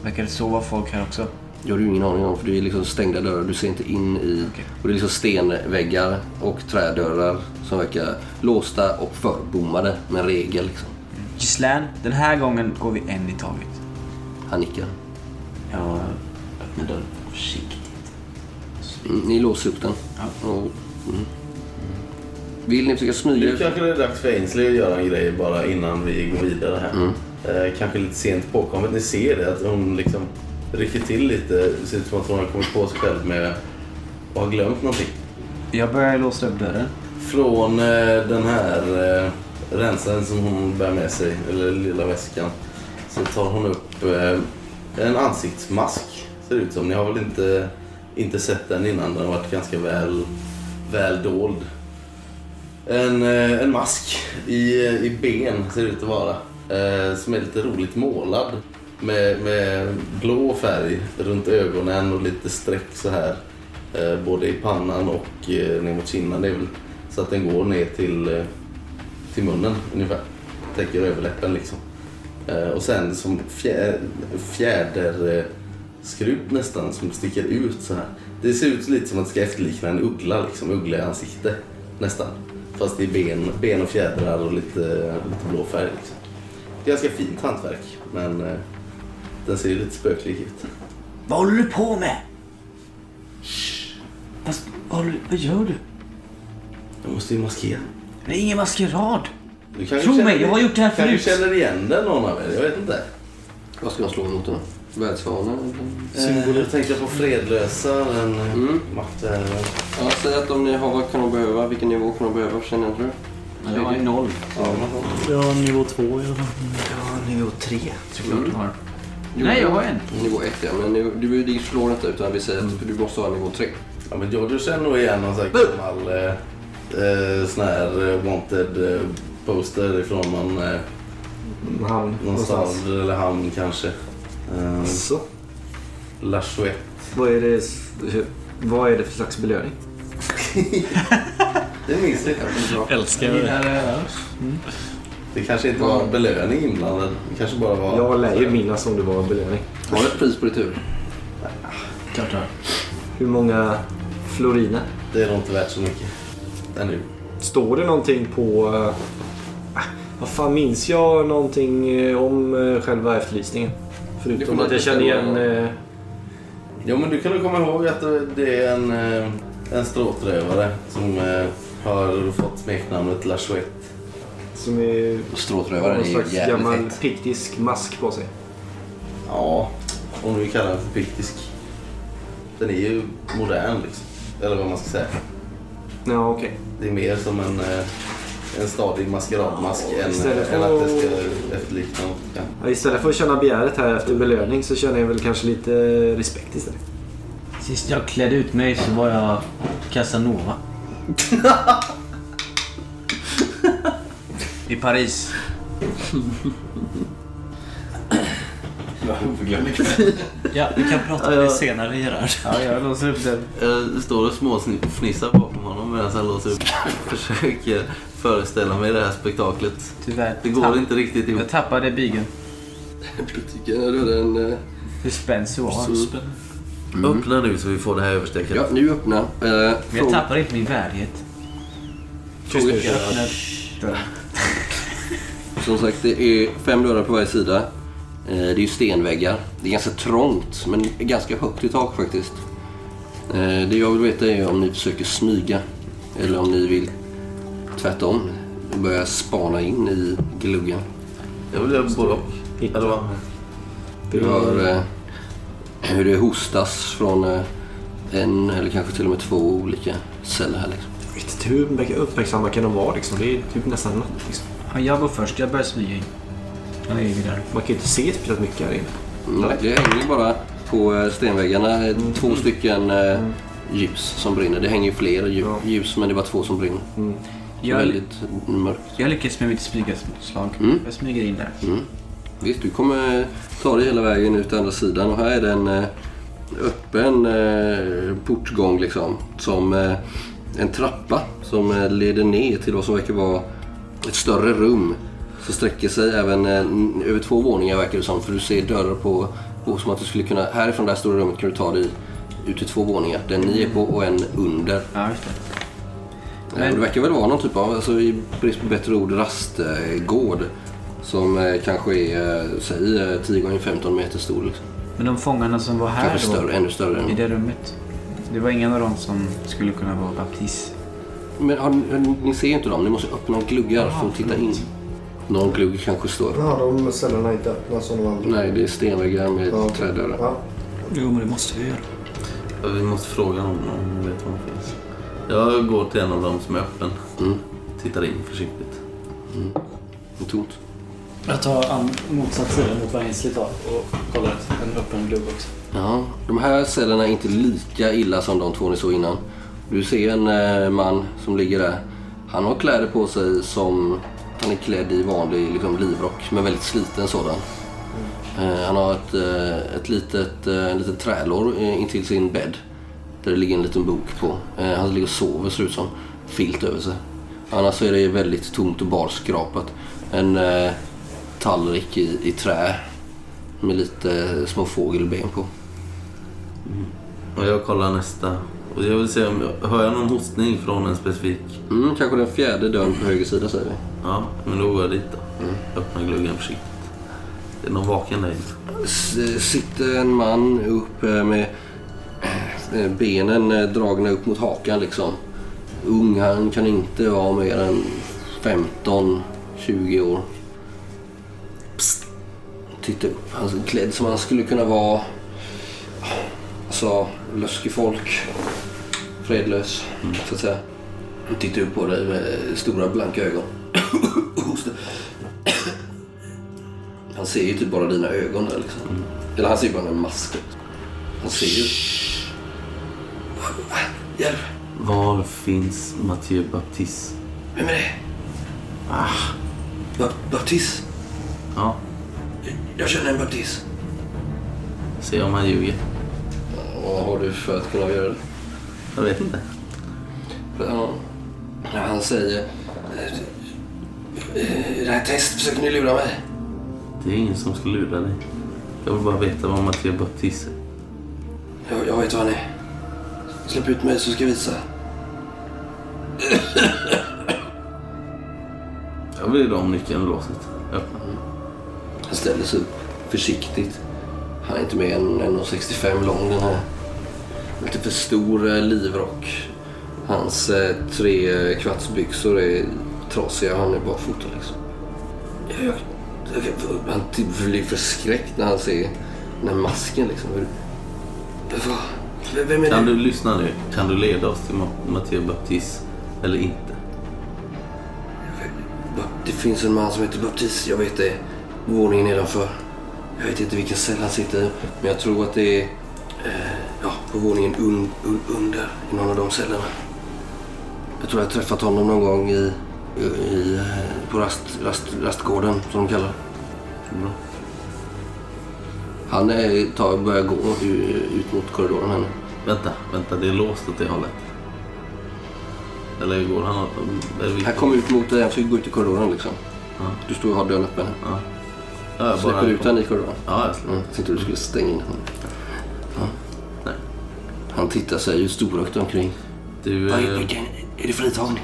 Speaker 9: Verkar det sova folk här också?
Speaker 3: Det har du ingen aning om för det är liksom stängda dörrar. Du ser inte in i... Och det är liksom stenväggar och trädörrar som verkar låsta och förbommade med regel. Liksom.
Speaker 9: Gislaine, den här gången går vi en i taget.
Speaker 3: Han nickar.
Speaker 9: Jag öppnar dörren försiktigt.
Speaker 3: Mm, Ni låser upp den. Och, mm. Vill ni försöka smyga?
Speaker 4: Nu kanske det är dags för Ainsley att göra en grej bara innan vi går vidare här.
Speaker 9: Mm.
Speaker 4: Eh, kanske lite sent påkommet. Ni ser det att hon liksom rycker till lite. Det ser ut som att hon har kommit på sig själv med och har glömt någonting.
Speaker 9: Jag börjar låsa upp dörren.
Speaker 4: Från eh, den här eh, rensaren som hon bär med sig, eller lilla väskan, så tar hon upp eh, en ansiktsmask. Ser det ut som. Ni har väl inte, inte sett den innan? Den har varit ganska väl, väl dold. En, eh, en mask i, i ben ser det ut att vara. Eh, som är lite roligt målad. Med, med blå färg runt ögonen och lite streck så här. Eh, både i pannan och eh, ner mot kinderna. Det är väl så att den går ner till, eh, till munnen ungefär. Täcker överläppen liksom. Eh, och sen som fjä, fjäder... Eh, skrut nästan som sticker ut så här. Det ser ut lite som att det ska efterlikna en uggla, liksom uggla i ansikte nästan. Fast det är ben, ben och fjädrar och lite, lite blå färg. Liksom. Ganska fint hantverk, men eh, den ser ju lite spöklig ut.
Speaker 9: Vad håller du på med? Fast, vad, håller, vad gör du?
Speaker 4: Jag måste ju maskera.
Speaker 9: Det är ingen maskerad.
Speaker 4: Du kanske
Speaker 9: Tro mig,
Speaker 4: känner-
Speaker 9: jag har gjort det här
Speaker 4: kanske
Speaker 9: förut.
Speaker 4: känner igen den någon av er, jag vet inte.
Speaker 3: Vad ska jag slå mot den? Världsfanen?
Speaker 4: Symboler. Jag tänkte Eh, på fredlösa, den mm.
Speaker 3: Mm.
Speaker 4: makten.
Speaker 3: Ja, säg att om ni har vad kan de behöva? Vilken nivå kan de behöva? Känner inte du?
Speaker 5: Men jag har ju noll.
Speaker 6: Jag har nivå två i alla fall.
Speaker 7: Ja, nivå tre.
Speaker 9: Såklart du har. Nej, jag har en.
Speaker 3: Nivå 1 ja, men nivå, du, du slår inte utan vi säger att du måste ha nivå 3.
Speaker 4: Ja men jag du känner nog igen någon sån här gammal eh, eh, sån här eh, wanted eh, poster ifrån någon, eh,
Speaker 7: Hamn.
Speaker 4: någon stad eller hamn kanske. Eh,
Speaker 7: Så.
Speaker 4: La Chouette.
Speaker 7: Vad är det, vad är det för slags belöning?
Speaker 4: Det minns jag kanske bra.
Speaker 5: Älskar det.
Speaker 4: Det kanske inte var en belöning inblandad. Det kanske bara var...
Speaker 7: Jag lär ju minnas om det var en belöning.
Speaker 3: Har du ett pris på ditt huvud?
Speaker 5: Klart jag har.
Speaker 7: Hur många floriner?
Speaker 4: Det är nog inte värt så mycket. Ännu.
Speaker 7: Står det någonting på... eh, ah, vad fan, minns jag någonting eh, om eh, själva efterlysningen?
Speaker 3: Det
Speaker 7: Förutom
Speaker 3: kommer
Speaker 7: att jag
Speaker 3: inte
Speaker 7: känner igen...
Speaker 3: stämma.
Speaker 7: eh,
Speaker 4: Jo men du kan nog komma ihåg att det- det är en, eh, en stråtrövare som eh, har fått smeknamnet La Chouette.
Speaker 7: som är... Har
Speaker 3: Stråtrövaren
Speaker 7: någon
Speaker 3: är ju
Speaker 7: slags
Speaker 3: jävligt
Speaker 7: gammal
Speaker 3: hett.
Speaker 7: piktisk mask på sig.
Speaker 4: Ja, om du vill kalla den för piktisk. Den är ju modern liksom. Eller vad man ska säga.
Speaker 7: Ja, okej.
Speaker 4: Det är mer som en, eh, en stadig maskeradmask än,
Speaker 7: istället
Speaker 4: än att det
Speaker 7: för-
Speaker 4: ska efterlikna något. Ja.
Speaker 7: Ja, Istället för att känna begäret här efter belöning så känner jag väl kanske lite respekt istället.
Speaker 9: Sist jag klädde ut mig så var jag Casanova. I Paris.
Speaker 5: Ja, vi kan prata om det senare Gerard.
Speaker 9: Ja, jag låser upp den.
Speaker 4: Jag Eh, står och småfnissar bakom honom medan han låser upp. Försöker föreställa mig det här spektaklet.
Speaker 9: Tyvärr.
Speaker 4: Det går inte riktigt ihop.
Speaker 9: Jag tappade bygeln.
Speaker 3: Butiken är redan... eh,
Speaker 9: Hur spänd så var
Speaker 3: så-
Speaker 4: Öppna nu så vi får det här överstökat.
Speaker 3: Ja, nu öppna. Eh,
Speaker 9: Men jag
Speaker 3: fråga-
Speaker 9: tappade inte min värdighet.
Speaker 3: fråga- Som sagt, det är fem dörrar på varje sida. Eh, Det är ju stenväggar. Det är ganska trångt, men ganska högt i tak faktiskt. Eh, Det jag vill veta är om ni försöker smyga eller om ni vill tvärtom börja spana in i gluggen.
Speaker 4: Jag vill göra både och. Eller vad?
Speaker 3: Du hör eh, hur det hostas från eh, en eller kanske till och med två olika celler här. Liksom.
Speaker 7: Jag vet inte hur uppmärksamma kan de vara liksom. Det är typ nästan natt liksom.
Speaker 9: Ja, jag går först. Jag börjar smyga in. Ja, det är vi där.
Speaker 7: Man kan ju inte se speciellt mycket här inne.
Speaker 3: Nej, Mm. Det hänger bara på eh, stenväggarna eh, två stycken eh, ljus som brinner. Det hänger ju fler lju-
Speaker 7: Ja.
Speaker 3: ljus men det är bara två som brinner. Det är
Speaker 9: Jag,
Speaker 3: Väldigt mörkt.
Speaker 9: jag lyckas med mitt smygaslag.
Speaker 3: Mm.
Speaker 9: Jag smyger in där.
Speaker 3: Visst, du kommer ta dig hela vägen ut till andra sidan och här är det en eh, öppen eh, portgång liksom. Som eh, en trappa som eh, leder ner till vad som verkar vara ett större rum. Så sträcker sig även eh, n- över två våningar verkar det som. För du ser dörrar på, på som att du skulle kunna, härifrån det här stora rummet kan du ta dig ut till två våningar. Den ni är på och en under.
Speaker 9: Ja, just det.
Speaker 3: Men... Det verkar väl vara någon typ av, alltså, i brist på bättre ord, rastgård. Som eh, kanske är, eh, säg eh, 10 gånger 15 meter stor. Liksom.
Speaker 9: Men de fångarna som var här
Speaker 3: Kanske
Speaker 9: då,
Speaker 3: större, ännu större.
Speaker 9: i
Speaker 3: Än...
Speaker 9: det rummet. Det var ingen av dem som skulle kunna vara baptist.
Speaker 3: Men har, ni- har, ni- ni ser ju inte dem, ni måste öppna gluggar för att titta in. Någon glugg kanske står.
Speaker 10: Ja, de cellerna är inte öppna som de andra.
Speaker 3: Nej, det är stenväggar med
Speaker 10: Ja.
Speaker 3: trädörrar.
Speaker 10: Ja.
Speaker 5: Jo, men det måste vi göra.
Speaker 4: Ja, Vi måste fråga någon om hon vet var hon finns. Jag går till en av dem som är öppen.
Speaker 3: Mm.
Speaker 4: Tittar in försiktigt.
Speaker 3: Det är tomt.
Speaker 5: Jag tar an motsatt sida mot vad Ainsley tar och kollar att en öppen glugg också.
Speaker 3: Ja, de här cellerna är inte lika illa som de två ni såg innan. Du ser en eh, man som ligger där. Han har kläder på sig som... Han är klädd i vanlig liksom, livrock, men väldigt sliten sådan. Eh, han har ett, eh, ett litet, eh, en liten trälår eh, intill sin bädd. Där det ligger en liten bok på. Eh, han ligger och sover ser det ut som. Filt över sig. Annars så är det väldigt tomt och barskrapat. En eh, tallrik i, i trä med lite eh, små fågelben på.
Speaker 4: Och jag kollar nästa. Och jag vill se om jag, hör jag någon hostning från en specifik.
Speaker 3: Mm, kanske den fjärde dörren på höger sida säger vi.
Speaker 4: Ja, men då går jag dit då. Öppnar gluggen försiktigt. Det är någon vaken där inne.
Speaker 3: S- eh, sitter en man upp eh, med eh, benen eh, dragna upp mot hakan liksom. Ung, han kan inte vara mer än 15-20 år. Psst. Titta upp. Han är klädd som han skulle kunna vara. Alltså, löskig folk. Fredlös, så att säga. Han tittar upp på dig med stora blanka ögon. Hosta. Han ser ju typ bara dina ögon där liksom. Eller han ser ju bara en mask. Han ser ju... Hjälp!
Speaker 4: Var finns Mathieu Baptiste?
Speaker 3: Vem är det? Ah. Ba- baptist?
Speaker 4: Ja,
Speaker 3: Jag känner en baptist.
Speaker 4: se om han ljuger.
Speaker 3: Vad har du för att kunna göra det?
Speaker 4: Jag vet inte.
Speaker 3: Ja. Ja, Han säger... "Eh, I det här testet försöker ni lura mig.
Speaker 4: Det är ingen som ska lura dig. Jag vill bara veta vad Mathieu Baptiste är.
Speaker 3: Jag, jag vet vad han är. Släpp ut mig så ska jag visa.
Speaker 4: Jag vill ha om nyckeln och låset. Öppna.
Speaker 3: Han ställer sig upp försiktigt. Han är inte mer än 1,65 lång den här. Lite för stor eh, livrock. Hans eh, tre eh, kvartsbyxor är trasiga. Han är barfota liksom. Jag- jag- jag- Han typ blir förskräckt när han ser den här masken liksom. Hur- vad- v- Vem är
Speaker 4: Kan
Speaker 3: det?
Speaker 4: du lyssna nu? Kan du leda oss till Ma- Mathieu Baptiste eller inte?
Speaker 3: Ba- Det finns en man som heter Baptist. Jag vet det. Våningen nedanför. Jag vet inte vilken cell han sitter i. Men jag tror att det är... Eh, ja, på våningen un, un, under i någon av de cellerna. Jag tror jag har träffat honom någon gång i, i, i, på rast, rast, rastgården som de kallar det. Mm. Han är, tar, börjar gå u- ut mot korridoren här nu.
Speaker 4: Vänta, vänta. Det är låst åt det hållet. Eller går han åt... eller vilket-
Speaker 3: Han kom ut mot dig, han försöker gå ut i korridoren liksom.
Speaker 4: Ja.
Speaker 3: Du står och har dörren öppen.
Speaker 4: Ja. Ja, jag
Speaker 3: Släpper
Speaker 4: bara-
Speaker 3: du ut han i korridoren?
Speaker 4: Ja, jag släpper.
Speaker 3: Mm. Jag tänkte du skulle stänga in honom. Ja.
Speaker 4: Nej.
Speaker 3: Han tittar sig ju storögt omkring.
Speaker 4: Du...
Speaker 3: Vad är,
Speaker 4: eh,
Speaker 3: vilken- är det för liten?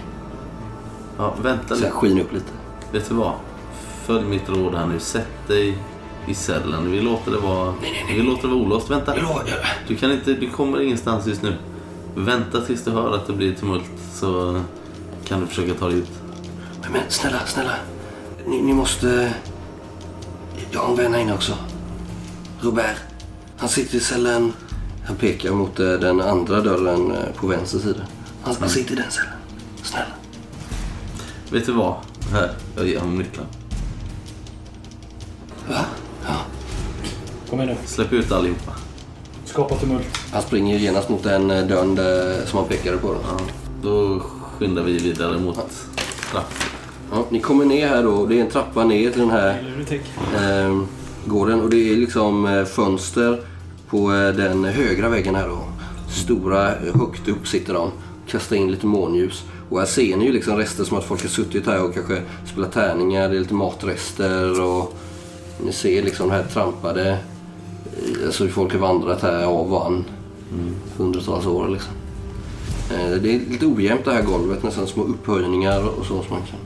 Speaker 4: Ja, vänta
Speaker 3: Så jag
Speaker 4: lite.
Speaker 3: skiner upp lite.
Speaker 4: Vet du vad? Följ mitt råd här nu. Sätt dig i cellen. Vi låter det vara, vi låter det vara olåst. Vänta.
Speaker 3: Jag lovar, jag-
Speaker 4: Du, kan inte, du kommer ingenstans just nu. Vänta tills du hör att det blir tumult så kan du försöka ta dig ut.
Speaker 3: Men, men snälla, snälla. Ni, ni måste... Jag har en vän här inne också. Robert. Han sitter i cellen... Han pekar mot eh, den andra dörren eh, på vänster sida. Han, han sitter i den cellen. Snälla.
Speaker 4: Vet du vad? Här, jag ger honom nyckeln.
Speaker 3: Va? Ja.
Speaker 6: Kom igen nu.
Speaker 4: Släpp ut allihopa.
Speaker 6: Skapa tumult.
Speaker 3: Han springer genast mot den eh, dörren där, som han pekade på. Då.
Speaker 4: Ja, då skyndar vi vidare mot trappan.
Speaker 3: Ja, ni kommer ner här då. Det är en trappa ner till den här... eh, gården och det är liksom eh, fönster på eh, den högra väggen här då. Stora, eh, högt upp sitter de. Kastar in lite månljus. Och här ser ni ju liksom rester som att folk har suttit här och kanske spelat tärningar. Det är lite matrester och ni ser liksom det här trampade. eh, Alltså hur folk har vandrat här av och an. Hundratals år liksom. Eh, Det är lite ojämnt det här golvet. Nästan små upphöjningar och så som man kan.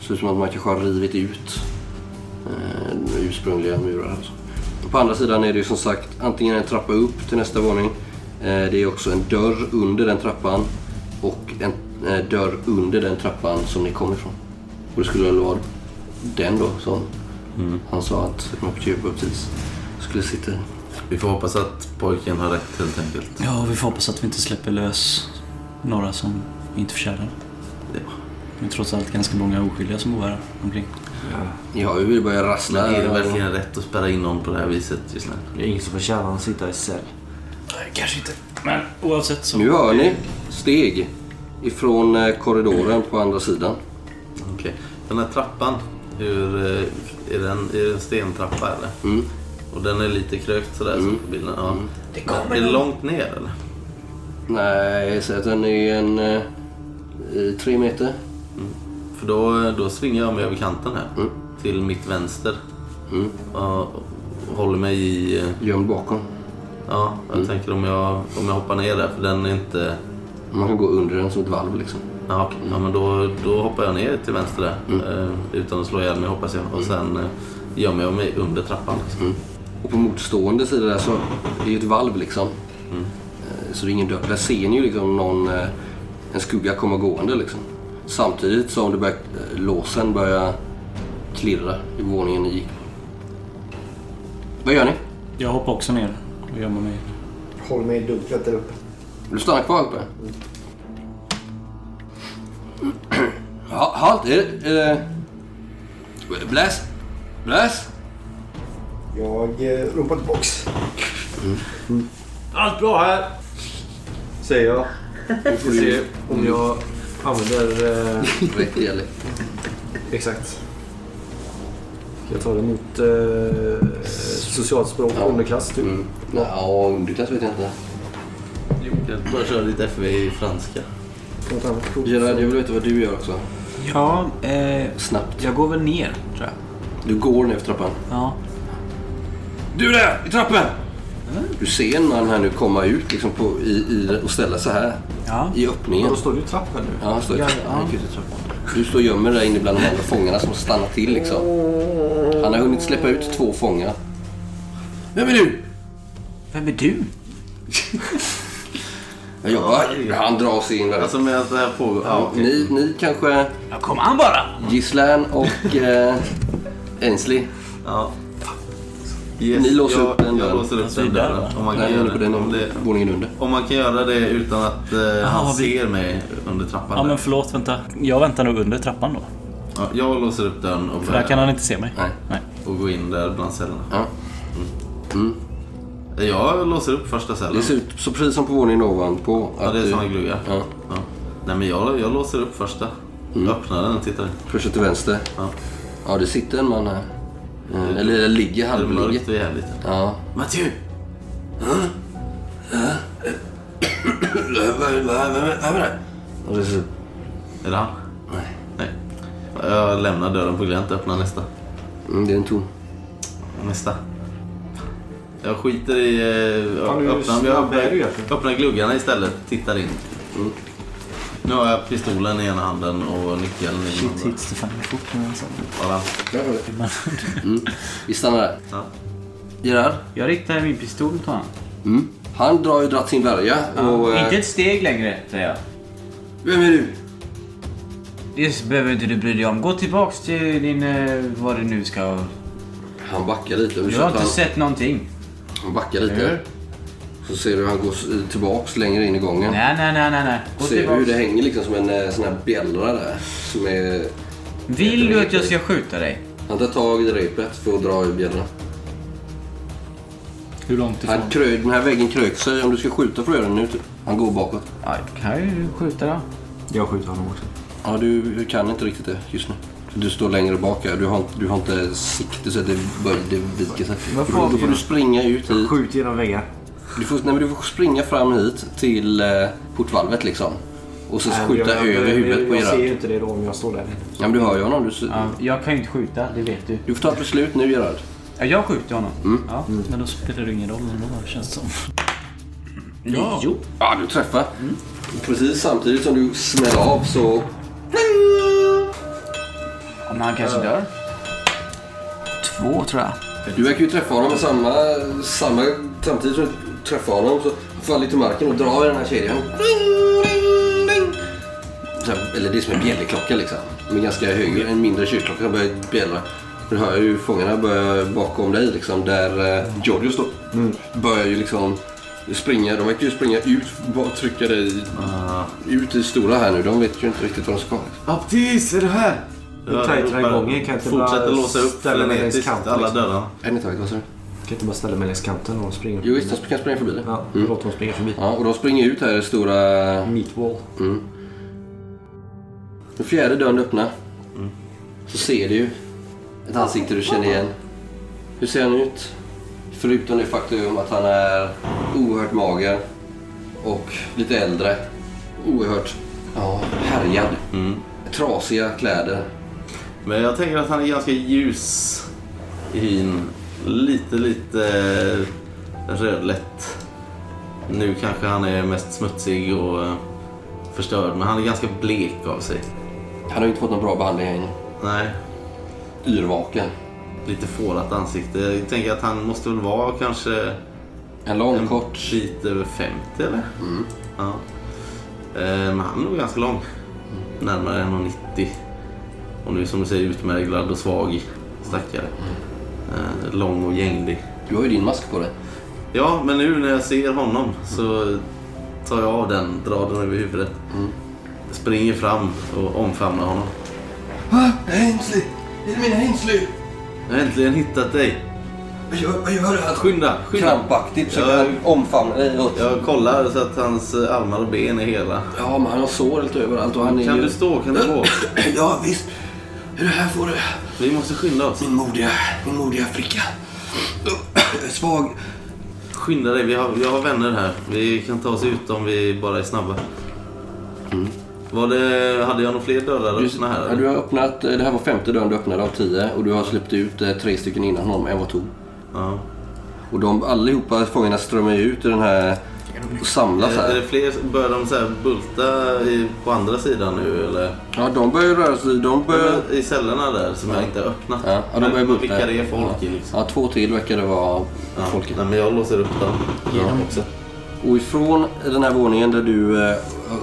Speaker 3: Ser ut som att man kanske har rivit ut eh, ursprungliga murar. Alltså. Och på andra sidan är det ju som sagt antingen en trappa upp till nästa våning. Eh, det är också en dörr under den trappan och en eh, dörr under den trappan som ni kom ifrån. Och det skulle väl vara den då som han sa att Mokhtio Baptist skulle sitta i.
Speaker 4: Vi får hoppas att pojken har rätt helt enkelt.
Speaker 5: Ja, vi får hoppas att vi inte släpper lös några som inte förtjänar
Speaker 4: Ja.
Speaker 5: det. Det är trots allt ganska många oskyldiga som bor här omkring.
Speaker 3: Ni har ju börjat rassla.
Speaker 4: Men är det verkligen rätt att spärra in någon på det här viset just nu?
Speaker 7: Det är ingen som förtjänar att sitta i cell.
Speaker 5: Kanske inte. Men oavsett så...
Speaker 3: Nu hör ni steg ifrån eh, korridoren på andra sidan.
Speaker 4: Okej. Den här trappan, hur, eh, är, den, är det en stentrappa eller?
Speaker 3: Mm.
Speaker 4: Och den är lite krökt sådär som på bilden. Ja. Det kommer är det långt ner eller?
Speaker 3: Nej, säg att den är en... Eh, i tre meter.
Speaker 4: För då, då svingar jag mig över kanten här. Till mitt vänster.
Speaker 3: Mm.
Speaker 4: Ja, Och, håller mig i... eh,
Speaker 3: Gömd bakom.
Speaker 4: Ja, jag
Speaker 3: Mm.
Speaker 4: tänker om jag, om jag hoppar ner där för den är inte...
Speaker 3: Man kan gå under den som ett valv liksom.
Speaker 4: Ja, okej. ja men då, då hoppar jag ner till vänster där. Eh, utan att slå ihjäl mig hoppas jag. Och sen eh, gömmer jag mig under trappan. Liksom.
Speaker 3: Och på motstående sida där så är det ju ett valv liksom. Eh, Så det är ingen dörr. Där ser ni ju liksom någon, eh, en skugga komma gående liksom. Samtidigt som det börjar, eh, låsen börjar klirra i våningen ni gick på. Vad gör ni?
Speaker 5: Jag hoppar också ner och gömmer mig.
Speaker 10: Håll mig i dunklet där uppe.
Speaker 3: Du stannar kvar uppe? Ja, halt! Är det... Är det... Bläs! Bläs!
Speaker 10: Jag eh, ropar tillbaks.
Speaker 7: Mm. Allt bra här! Säger jag. Vi får se om jag använder... Eh,
Speaker 3: Rätt dialekt.
Speaker 7: exakt. Jag tar emot eh, socialt språk,
Speaker 3: Ja.
Speaker 7: underklass typ.
Speaker 3: Mm. Ja, underklass vet jag inte.
Speaker 4: Jo, jag bara kör lite FV i franska.
Speaker 7: Något annat prov.
Speaker 3: Gerard, jag vill veta vad du gör också.
Speaker 9: Ja, eh,
Speaker 3: Snabbt.
Speaker 9: jag går väl ner, tror jag.
Speaker 3: Du går ner för trappan.
Speaker 9: Ja.
Speaker 3: Du där! I trappan!
Speaker 9: Mm.
Speaker 3: Du ser en man här nu komma ut liksom på, i, i, och ställa sig här.
Speaker 9: Ja.
Speaker 3: I
Speaker 7: Ja,
Speaker 3: öppningen.
Speaker 7: Då står du i trappan nu.
Speaker 3: Ja, han står i trappan. Han gick ut i trappan. Du står och gömmer dig inne bland de andra fångarna som stannar till liksom. Han har hunnit släppa ut två fångar. Vem är du?
Speaker 9: Vem är du?
Speaker 3: Jag jobbar. Han drar sig in där.
Speaker 4: Alltså medan det här pågår. Ja,
Speaker 3: ja,
Speaker 4: okej.
Speaker 3: ni, ni kanske...
Speaker 9: Ja, kom an bara!
Speaker 3: Gislaine och eh, Ainsley.
Speaker 4: Ja. Yes,
Speaker 3: Ni låser
Speaker 4: jag,
Speaker 3: upp den
Speaker 4: jag
Speaker 3: dörren.
Speaker 4: låser upp
Speaker 5: Alltså,
Speaker 4: den
Speaker 5: där,
Speaker 4: dörren. Om man,
Speaker 3: Nej,
Speaker 4: kan göra
Speaker 3: jag håller på
Speaker 4: det,
Speaker 3: den
Speaker 4: om, det,
Speaker 3: våningen under.
Speaker 4: om man kan göra det utan att eh, han
Speaker 5: vad vi-
Speaker 4: ser mig under trappan.
Speaker 5: Ja
Speaker 4: där.
Speaker 5: men förlåt, vänta. Jag väntar nog under trappan då.
Speaker 4: Ja, jag låser upp dörren och,
Speaker 5: För där
Speaker 4: börjar,
Speaker 5: kan han inte se mig.
Speaker 3: Nej.
Speaker 5: Nej.
Speaker 4: och går in där bland cellerna.
Speaker 3: Ja. Mm.
Speaker 4: Eh, Jag låser upp första cellen.
Speaker 3: Det ser ut så precis som på våningen ovanpå.
Speaker 4: Ja, det är
Speaker 3: du-
Speaker 4: såna gluggar.
Speaker 3: Ja.
Speaker 4: Ja. Nej, men jag, jag låser upp första. Öppnar den och tittar.
Speaker 3: Pusha till vänster.
Speaker 4: Ja.
Speaker 3: Ja, det sitter en man här. Mm. Eller det ligger
Speaker 4: Det är
Speaker 3: halvligger.
Speaker 4: mörkt och jävligt.
Speaker 3: Ja.
Speaker 4: Mathieu!
Speaker 3: Vad är det? Och det ser-
Speaker 4: Är det han?
Speaker 3: Nej.
Speaker 4: Nej. Jag lämnar dörren på glänt och öppnar nästa.
Speaker 3: Mm, det är en tom.
Speaker 4: Nästa. Jag skiter i... eh,
Speaker 7: Fan, du är
Speaker 4: öppnar, jag
Speaker 7: snabb, är du
Speaker 4: öppnar,
Speaker 7: egentligen?
Speaker 4: öppnar gluggarna istället. Tittar in. Nu har jag pistolen i ena handen och nyckeln i den
Speaker 5: Shit,
Speaker 4: andra.
Speaker 5: hit Stefan. Det är fort nu alltså.
Speaker 4: Bara.
Speaker 3: Vi stannar där.
Speaker 4: Ja.
Speaker 3: Gerard?
Speaker 9: Jag riktar min pistol på honom.
Speaker 3: Mm. Han drar ju dratt sin värja. Och, eh,
Speaker 9: Inte ett steg längre, säger jag.
Speaker 3: Vem är du?
Speaker 9: Det behöver inte du bry dig om. Gå tillbaks till din... eh, Vad det nu ska...
Speaker 3: Han backar lite.
Speaker 9: Du
Speaker 3: Ursäkta,
Speaker 9: har inte
Speaker 3: han,
Speaker 9: sett någonting.
Speaker 3: han backar lite. Så ser du hur han går s- tillbaks längre in i gången.
Speaker 9: Nej, nej, nej, nej, nej. Gå
Speaker 3: Ser du hur
Speaker 9: tillbaks.
Speaker 3: det hänger liksom som en eh, sån här bjällra där? Som är...
Speaker 9: Vill du att jag ska skjuta dig?
Speaker 3: Han tar tag i repet för att dra i bjällran.
Speaker 5: Hur långt ifrån?
Speaker 3: Han krö... Den här väggen kröks sig. Om du ska skjuta får du göra det nu. typ. Han går bakåt.
Speaker 9: Ja, jag kan ju skjuta då.
Speaker 7: Jag skjuter honom också.
Speaker 3: Ja, du kan inte riktigt det just nu. Du står längre bak här. Du har, du har inte sikte så att det, böj- det viker sig. Då
Speaker 7: Varför har
Speaker 3: får, då
Speaker 7: vi
Speaker 3: får du
Speaker 7: det?
Speaker 3: springa ut hit.
Speaker 7: Skjut genom väggar.
Speaker 3: Du får, nej, men du får springa fram hit till eh, portvalvet liksom. Och så skjuta
Speaker 7: jag, jag,
Speaker 3: över huvudet
Speaker 7: jag,
Speaker 3: på
Speaker 7: Jag ser
Speaker 3: Gerard.
Speaker 7: ju inte det då om jag står där.
Speaker 3: Ja, men du hör ju honom. Du, ser-
Speaker 9: Ja, jag kan ju inte skjuta, det vet du.
Speaker 3: du får ta ett beslut nu Gerard.
Speaker 9: Ja, jag skjuter honom. Ja.
Speaker 5: Men då spelar det ingen roll ändå, känns det som.
Speaker 9: Ja.
Speaker 3: Ja, du träffar. Mm. Precis samtidigt som du smäller av så...
Speaker 9: Men han kanske dör. Två, tror jag.
Speaker 3: Du verkar ju träffa honom med samma... samma samtidigt som du träffar honom så faller du till marken och drar i den här kedjan. Så här, Eller det är som en bjällerklocka liksom. Med ganska hög, en mindre kyrkklocka som börjar bjällra. Du hör ju fångarna börja bakom dig liksom där eh, Giorgio står. Börjar ju liksom springa. De verkar ju springa ut och trycka dig
Speaker 4: Ah.
Speaker 3: ut i stora här nu. De vet ju inte riktigt vad de ska. liksom.
Speaker 7: Aptis, är du här? Hur
Speaker 4: Jag
Speaker 7: tajt var
Speaker 4: ropar-
Speaker 7: gången? Kan jag inte
Speaker 4: Fortsätter
Speaker 7: bara
Speaker 4: låsa upp
Speaker 7: ställa mig längs
Speaker 4: frenetiskt
Speaker 7: kanten?
Speaker 4: alla
Speaker 7: Liksom?
Speaker 4: dörrar.
Speaker 3: En i taget, vad sa du?
Speaker 7: Kan jag inte bara ställa mig längs kanten och springa?
Speaker 3: Jo, visst, de kan springa förbi dig.
Speaker 7: Ja,
Speaker 3: Mm.
Speaker 7: låt dem springa förbi.
Speaker 3: Ja, och de springer ut här i stora
Speaker 7: Meatball.
Speaker 3: Mm. Den fjärde dörren öppnar. Så ser du ju ett ansikte du känner igen. Hur ser han ut? Förutom det faktum att han är oerhört mager och lite äldre. Oerhört ja, härjad. Trasiga kläder.
Speaker 4: Men jag tänker att han är ganska ljus i hyn. Lite, lite rödlätt. Nu kanske han är mest smutsig och eh, förstörd, men han är ganska blek av sig.
Speaker 3: Han har ju inte fått någon bra behandling här inne.
Speaker 4: Nej,
Speaker 3: Yrvaken.
Speaker 4: lite fårat ansikte. Jag tänker att han måste väl vara kanske
Speaker 3: En lång,
Speaker 4: en
Speaker 3: kort.
Speaker 4: bit över 50 eller? Ja. Eh, Men han är nog ganska lång. Närmare 1,90. Och nu som du säger utmärglad och svag stackare. Eh, Lång och gänglig.
Speaker 3: Du har ju din mask på dig.
Speaker 4: Ja, men nu när jag ser honom så tar jag av den, drar den över huvudet.
Speaker 3: Mm.
Speaker 4: Springer fram och omfamnar honom.
Speaker 3: Ainsley! Elmina Ainsley!
Speaker 4: Jag har äntligen hittat dig!
Speaker 3: Vad gör, vad gör du? Han
Speaker 4: Skynda, skynda!
Speaker 3: krampaktigt försöker
Speaker 4: Ja.
Speaker 3: han omfamna dig. och-
Speaker 4: Jag kollar så att hans eh, armar och ben är hela.
Speaker 3: Ja, men han har sår lite överallt och han är
Speaker 4: Kan
Speaker 3: ju...
Speaker 4: du stå? Kan du gå?
Speaker 3: Ja, visst. Det här får du.
Speaker 4: Vi måste skynda oss.
Speaker 3: Min modiga, min modiga flicka. Svag.
Speaker 4: Skynda dig, vi har, jag har vänner här. Vi kan ta oss ut om vi bara är snabba. Var det, hade jag några fler dörrar öppna här?
Speaker 3: Ja,
Speaker 4: eller?
Speaker 3: Mm. du har öppnat, eh, det här var femte dörren du öppnade av tio och du har släppt ut eh, tre stycken innan honom, en var tom.
Speaker 4: Ja.
Speaker 3: Och de allihopa fångarna strömmar ju ut i den här och samlas
Speaker 4: Är, är det
Speaker 3: här.
Speaker 4: fler? Börjar de så här bulta i, på andra sidan nu eller?
Speaker 3: Ja, de börjar röra sig. De börjar...
Speaker 4: Eh, I cellerna där som jag inte har öppnat.
Speaker 3: Ja, ja, de börjar
Speaker 4: Men
Speaker 3: bulta.
Speaker 4: Vilka det är folk i liksom.
Speaker 3: Ja, två till verkar det vara
Speaker 4: Ja.
Speaker 3: folket.
Speaker 4: Nej, men jag låser upp dem. Ge dem också.
Speaker 3: Och ifrån den här våningen där du eh,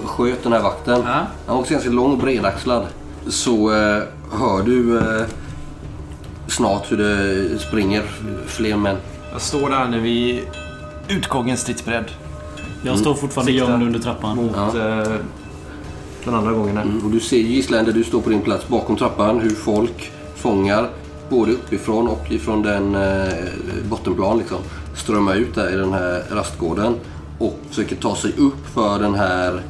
Speaker 3: sköt den här vakten.
Speaker 9: Ja.
Speaker 3: Han var också ganska lång och bredaxlad. Så eh, hör du eh, snart hur det springer fler män.
Speaker 7: Jag står där nu vid utgången stridsberedd.
Speaker 5: Jag står fortfarande
Speaker 7: Sikta.
Speaker 5: gömd under trappan.
Speaker 7: Mot eh, den andra gången där.
Speaker 3: Mm, Och du ser gisslan där du står på din plats bakom trappan hur folk fångar både uppifrån och ifrån den eh, bottenplan liksom. strömmar ut där i den här rastgården och försöker ta sig upp för den här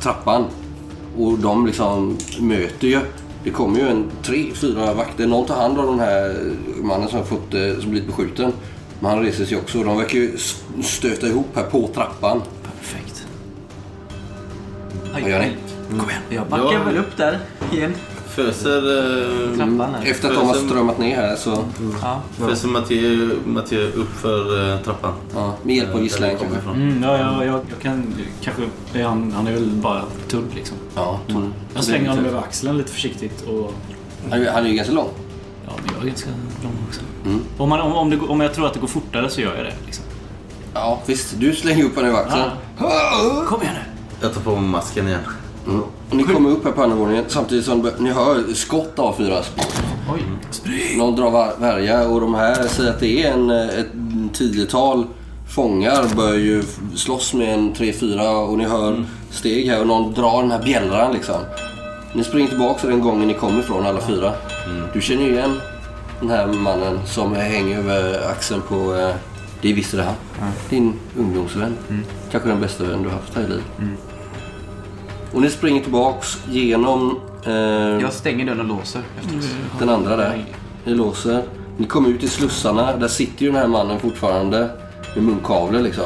Speaker 3: trappan. Och de liksom möter ju. Det kommer ju en tre, fyra vakter. Någon tar hand om den här mannen som har fått, eh, som blivit beskjuten. Men han reser sig också. De verkar ju s- stöta ihop här på trappan.
Speaker 5: Perfekt.
Speaker 3: Vad gör ni?
Speaker 5: Kom igen. Jag
Speaker 4: Ja,
Speaker 9: Backar
Speaker 4: men-
Speaker 9: väl upp där igen.
Speaker 4: Föser... eh,
Speaker 9: Trappan här.
Speaker 3: Efter att de har
Speaker 4: föser-
Speaker 3: strömmat ner här så...
Speaker 9: Ja.
Speaker 4: Föser Matteo, Matteo upp för eh, trappan.
Speaker 3: Ja, med hjälp av gisslan kanske.
Speaker 5: Mm, ja, ja, jag, jag kan kanske... Är han, han är väl bara tunn liksom.
Speaker 3: Ja, tror
Speaker 5: Jag slänger honom över axeln lite försiktigt och...
Speaker 3: han, är ju- han är ju ganska lång.
Speaker 5: Ja, men jag är ganska lång också.
Speaker 3: Mm.
Speaker 5: Om, man, om, om, det, går- om jag tror att det går fortare så gör jag det. Liksom.
Speaker 3: Ja, visst. Du slänger upp honom över axeln.
Speaker 5: Kom igen nu!
Speaker 4: Jag tar på mig masken igen.
Speaker 3: Mm. Och ni kommer upp här på undervåningen samtidigt som ni hör skott avfyras.
Speaker 5: Oj.
Speaker 3: Någon drar var- värja och de här säger att det är en, eh, ett tiotal fångar börjar ju f- slåss med en tre, fyra och ni hör steg här och någon drar den här bjällran liksom. Ni springer tillbaka den gången ni kommer ifrån alla fyra. Du känner ju igen den här mannen som hänger över axeln på... eh, Det är visst det här. Din ungdomsvän. Kanske den bästa vän du har haft här i livet. Och ni springer tillbaks genom... eh,
Speaker 9: Jag stänger dörren och låser. efter oss.
Speaker 3: den andra där. Ni låser. Ni kommer ut i slussarna. Där sitter ju den här mannen fortfarande med munkavle liksom.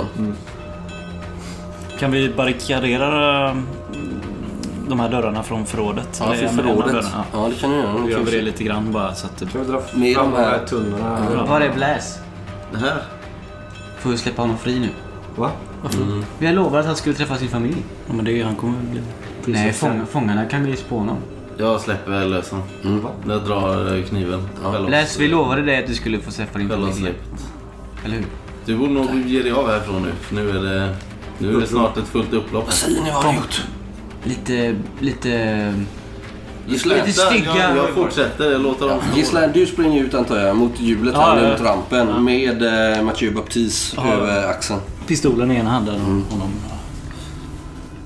Speaker 5: Kan vi barrikadera eh, de här dörrarna från förrådet?
Speaker 3: Ja,
Speaker 5: Eller
Speaker 3: för
Speaker 5: en- en av
Speaker 3: förrådet.
Speaker 5: dörrarna, Ja.
Speaker 3: Ja, det kan ni göra.
Speaker 5: Då gör vi det
Speaker 3: Okej.
Speaker 5: lite grann bara så att det...
Speaker 7: Kan vi dra
Speaker 3: Med
Speaker 7: fram
Speaker 3: de
Speaker 7: de
Speaker 3: här-
Speaker 7: här tunnorna? här?
Speaker 9: Var Mm. är Bläs?
Speaker 4: Det här.
Speaker 9: Får vi släppa honom fri nu?
Speaker 7: Va?
Speaker 9: Vi har lovat att han skulle träffa sin familj.
Speaker 5: Ja, men det, han kommer bli...
Speaker 9: Nej, fång, fångarna kan vi spåna honom.
Speaker 4: Jag släpper lös honom.
Speaker 3: Mm.
Speaker 4: Jag drar eh, kniven. Själv-
Speaker 9: Bläs, vi lovade dig att du skulle få träffa din familj.
Speaker 4: självavsläpp.
Speaker 9: Eller hur?
Speaker 4: Du borde nog ge dig av härifrån nu. för Nu är det, nu är det snart ett fullt upplopp.
Speaker 3: Säger ni vad har ni gjort?
Speaker 9: Lite, lite...
Speaker 3: Gisslan,
Speaker 9: Lite stygga.
Speaker 4: Jag, jag fortsätter. Jag låter dem stå.
Speaker 3: Gisslan, du springer ut antar jag mot hjulet
Speaker 5: Ja,
Speaker 3: här
Speaker 5: ja, ja.
Speaker 3: runt rampen med eh, Mathieu Baptiste
Speaker 5: Ja.
Speaker 3: över axeln.
Speaker 5: Pistolen i ena handen och
Speaker 3: Mm.
Speaker 5: honom...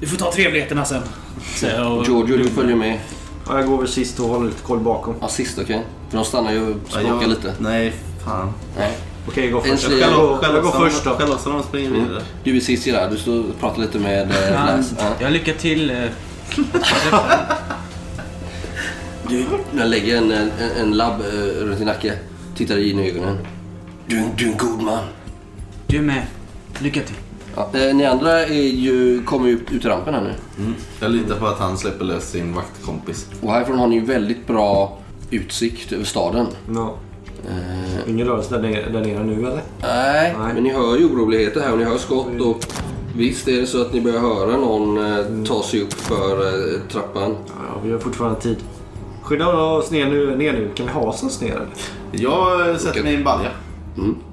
Speaker 5: Du får ta trevligheterna sen. säger jag och-
Speaker 3: Giorgio, du följer med.
Speaker 7: Ja, jag går väl sist och håller lite koll bakom.
Speaker 3: Ja, sist okej? För de stannar ju och
Speaker 4: Ja,
Speaker 3: språkar
Speaker 4: jag-
Speaker 3: lite.
Speaker 4: Nej, fan.
Speaker 3: Nej.
Speaker 7: Okej, jag går först.
Speaker 3: Äntligen.
Speaker 7: Jag går, jag går
Speaker 4: Självavsläpp-
Speaker 7: först då.
Speaker 4: Självavsläpp
Speaker 3: Mm.
Speaker 4: springer vidare.
Speaker 3: Du är sist i där. Du står och pratar lite med eh, Lass. Ja.
Speaker 9: Jag lycka till. eh,
Speaker 3: Du, jag lägger en, en, en labb eh, runt din nacke. Tittar in i ögonen. Du, du är en god man.
Speaker 9: Du med. Lycka till.
Speaker 3: Ja, eh, ni andra är ju, kommer ju ut, ut i rampen här nu.
Speaker 4: Mm. Jag litar på att han släpper lös sin vaktkompis.
Speaker 3: Och härifrån har ni ju väldigt bra utsikt över staden.
Speaker 7: Ja.
Speaker 3: Eh,
Speaker 7: Ingen rörelse där nere, där nere nu eller?
Speaker 3: nej,
Speaker 7: Nej.
Speaker 3: men ni hör ju oroligheter här och ni hör skott och visst är det så att ni börjar höra någon eh, ta sig upp för eh, trappan.
Speaker 7: Ja, vi har fortfarande tid. Skydda oss ner nu, ner nu. Kan vi hasa oss ner eller?
Speaker 4: Jag eh, sätter
Speaker 3: Okej.
Speaker 4: mig i en balja.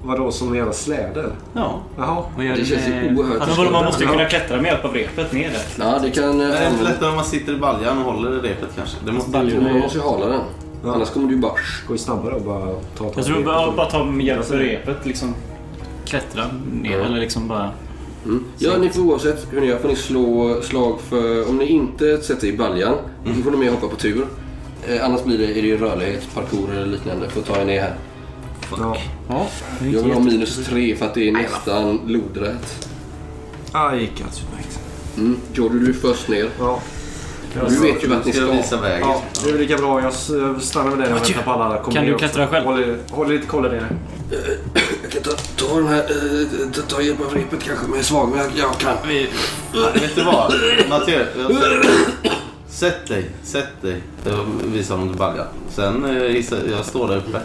Speaker 7: Vadå, som en jävla släde eller?
Speaker 5: Ja.
Speaker 7: Jaha.
Speaker 9: Vad gör
Speaker 3: Det
Speaker 9: du
Speaker 3: känns ju
Speaker 9: med...
Speaker 3: oerhört
Speaker 6: Men vadå, man måste ju kunna klättra med hjälp av repet ner där.
Speaker 3: Ja, det kan...
Speaker 4: Det är
Speaker 3: Eh,
Speaker 4: inte
Speaker 3: använda-
Speaker 4: lättare om man sitter i baljan och håller i repet kanske. Det måste
Speaker 5: Baljorna
Speaker 3: man
Speaker 5: är-
Speaker 3: måste ju hala den.
Speaker 7: Ja.
Speaker 3: Annars kommer du ju bara...
Speaker 7: Gå ju snabbare och bara ta
Speaker 6: Jag tror bara, bara ta med hjälp av repet liksom.
Speaker 5: Klättra ner eller liksom bara...
Speaker 3: Mm. Ja, ni får oavsett hur ni gör får ni slå slag för... Om ni inte sätter i baljan,
Speaker 4: Mm.
Speaker 3: då får ni med hoppa på tur. Eh, annars blir det, är det ju rörlighet, parkour eller liknande för att ta er ner här.
Speaker 7: Ja.
Speaker 3: Jag vill ha minus tre för att det är nästan lodrätt.
Speaker 7: Ah, det gick alldeles utmärkt.
Speaker 3: Mm. Jordi, du är först ner.
Speaker 7: Ja.
Speaker 3: Du vet ju vart ni
Speaker 4: Ska jag
Speaker 3: ska.
Speaker 4: visa vägen?
Speaker 7: ja, det är väl lika bra. Jag s- jag stannar med dig och väntar på alla. Kom
Speaker 5: Kan
Speaker 7: ner
Speaker 5: du
Speaker 7: också.
Speaker 5: klättra själv?
Speaker 7: Håller, håller lite koll där nere.
Speaker 3: Jag kan ta, ta den här... eh, ta- ta hjälp av repet kanske, men jag är svag. Men jag, jag kan.
Speaker 4: Vi, vet du vad? Matteo, jag säger- sätt dig, sätt dig. Jag visar honom till baljan. Sen eh, hissar, jag står där uppe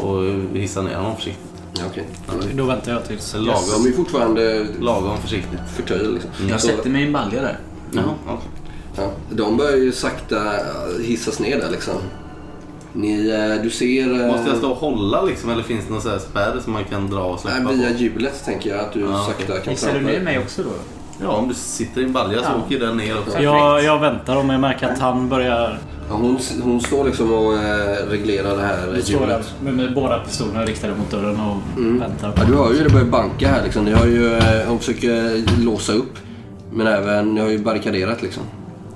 Speaker 4: och hissar ner honom försiktigt.
Speaker 3: Ja, okej.
Speaker 5: Då väntar jag tills...
Speaker 4: Sen
Speaker 3: De är
Speaker 4: lagom,
Speaker 3: ju fortfarande
Speaker 4: lagom försiktigt.
Speaker 3: förtöjda liksom.
Speaker 4: Mm.
Speaker 9: Jag
Speaker 3: Så-
Speaker 9: sätter mig i en balja där.
Speaker 4: Jaha, okej.
Speaker 3: Ja, de börjar ju sakta hissas ner där liksom. Ni, eh, du ser... eh,
Speaker 4: Måste jag stå och hålla liksom eller finns det någon sån här spärr som man kan dra och släppa
Speaker 3: Nej,
Speaker 4: på?
Speaker 3: via hjulet tänker jag att du
Speaker 4: Ja,
Speaker 3: sakta
Speaker 4: okej.
Speaker 3: kan
Speaker 9: Hissar du ner mig också då?
Speaker 4: Ja, om du sitter i en balja så åker den ner också.
Speaker 5: Jag, jag väntar om jag märker att han börjar...
Speaker 3: Ja, hon, hon står liksom och eh, reglerar det här
Speaker 5: Står där
Speaker 3: hjulet.
Speaker 5: med, med båda pistolerna riktade mot dörren och
Speaker 9: Mm.
Speaker 5: väntar.
Speaker 3: Ja, du hör ju det börjar banka här liksom. Ni har ju, eh, hon försöker låsa upp. Men även, ni har ju barrikaderat liksom.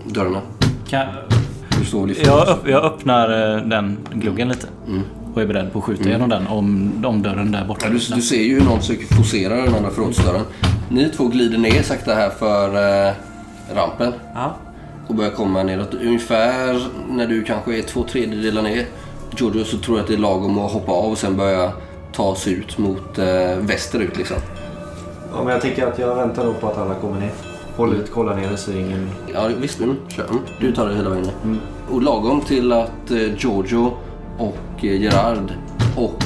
Speaker 3: Dörrarna.
Speaker 5: Kan,
Speaker 3: Du står och lyfter.
Speaker 9: Mm.
Speaker 5: jag, öpp, jag öppnar eh, den gluggen lite. Och och är beredd på att skjuta genom den om, om dörren där borta.
Speaker 3: Ja, du, du ser ju hur någon försöker forcera den andra förrådsdörren. Ni två glider ner sakta här för eh, rampen. Och börjar komma neråt. Ungefär när du kanske är två tredjedelar ner, Giorgio, så tror jag att det är lagom att hoppa av och sen börja ta sig ut mot eh, västerut liksom.
Speaker 7: Ja, men jag tänker att jag väntar nog på att alla kommer ner. Håll ut, kolla ner så ingen...
Speaker 3: Ja visst, mm, kör. Mm, Du tar det hela vägen ner. Och lagom till att eh, Giorgio och eh, Gerard och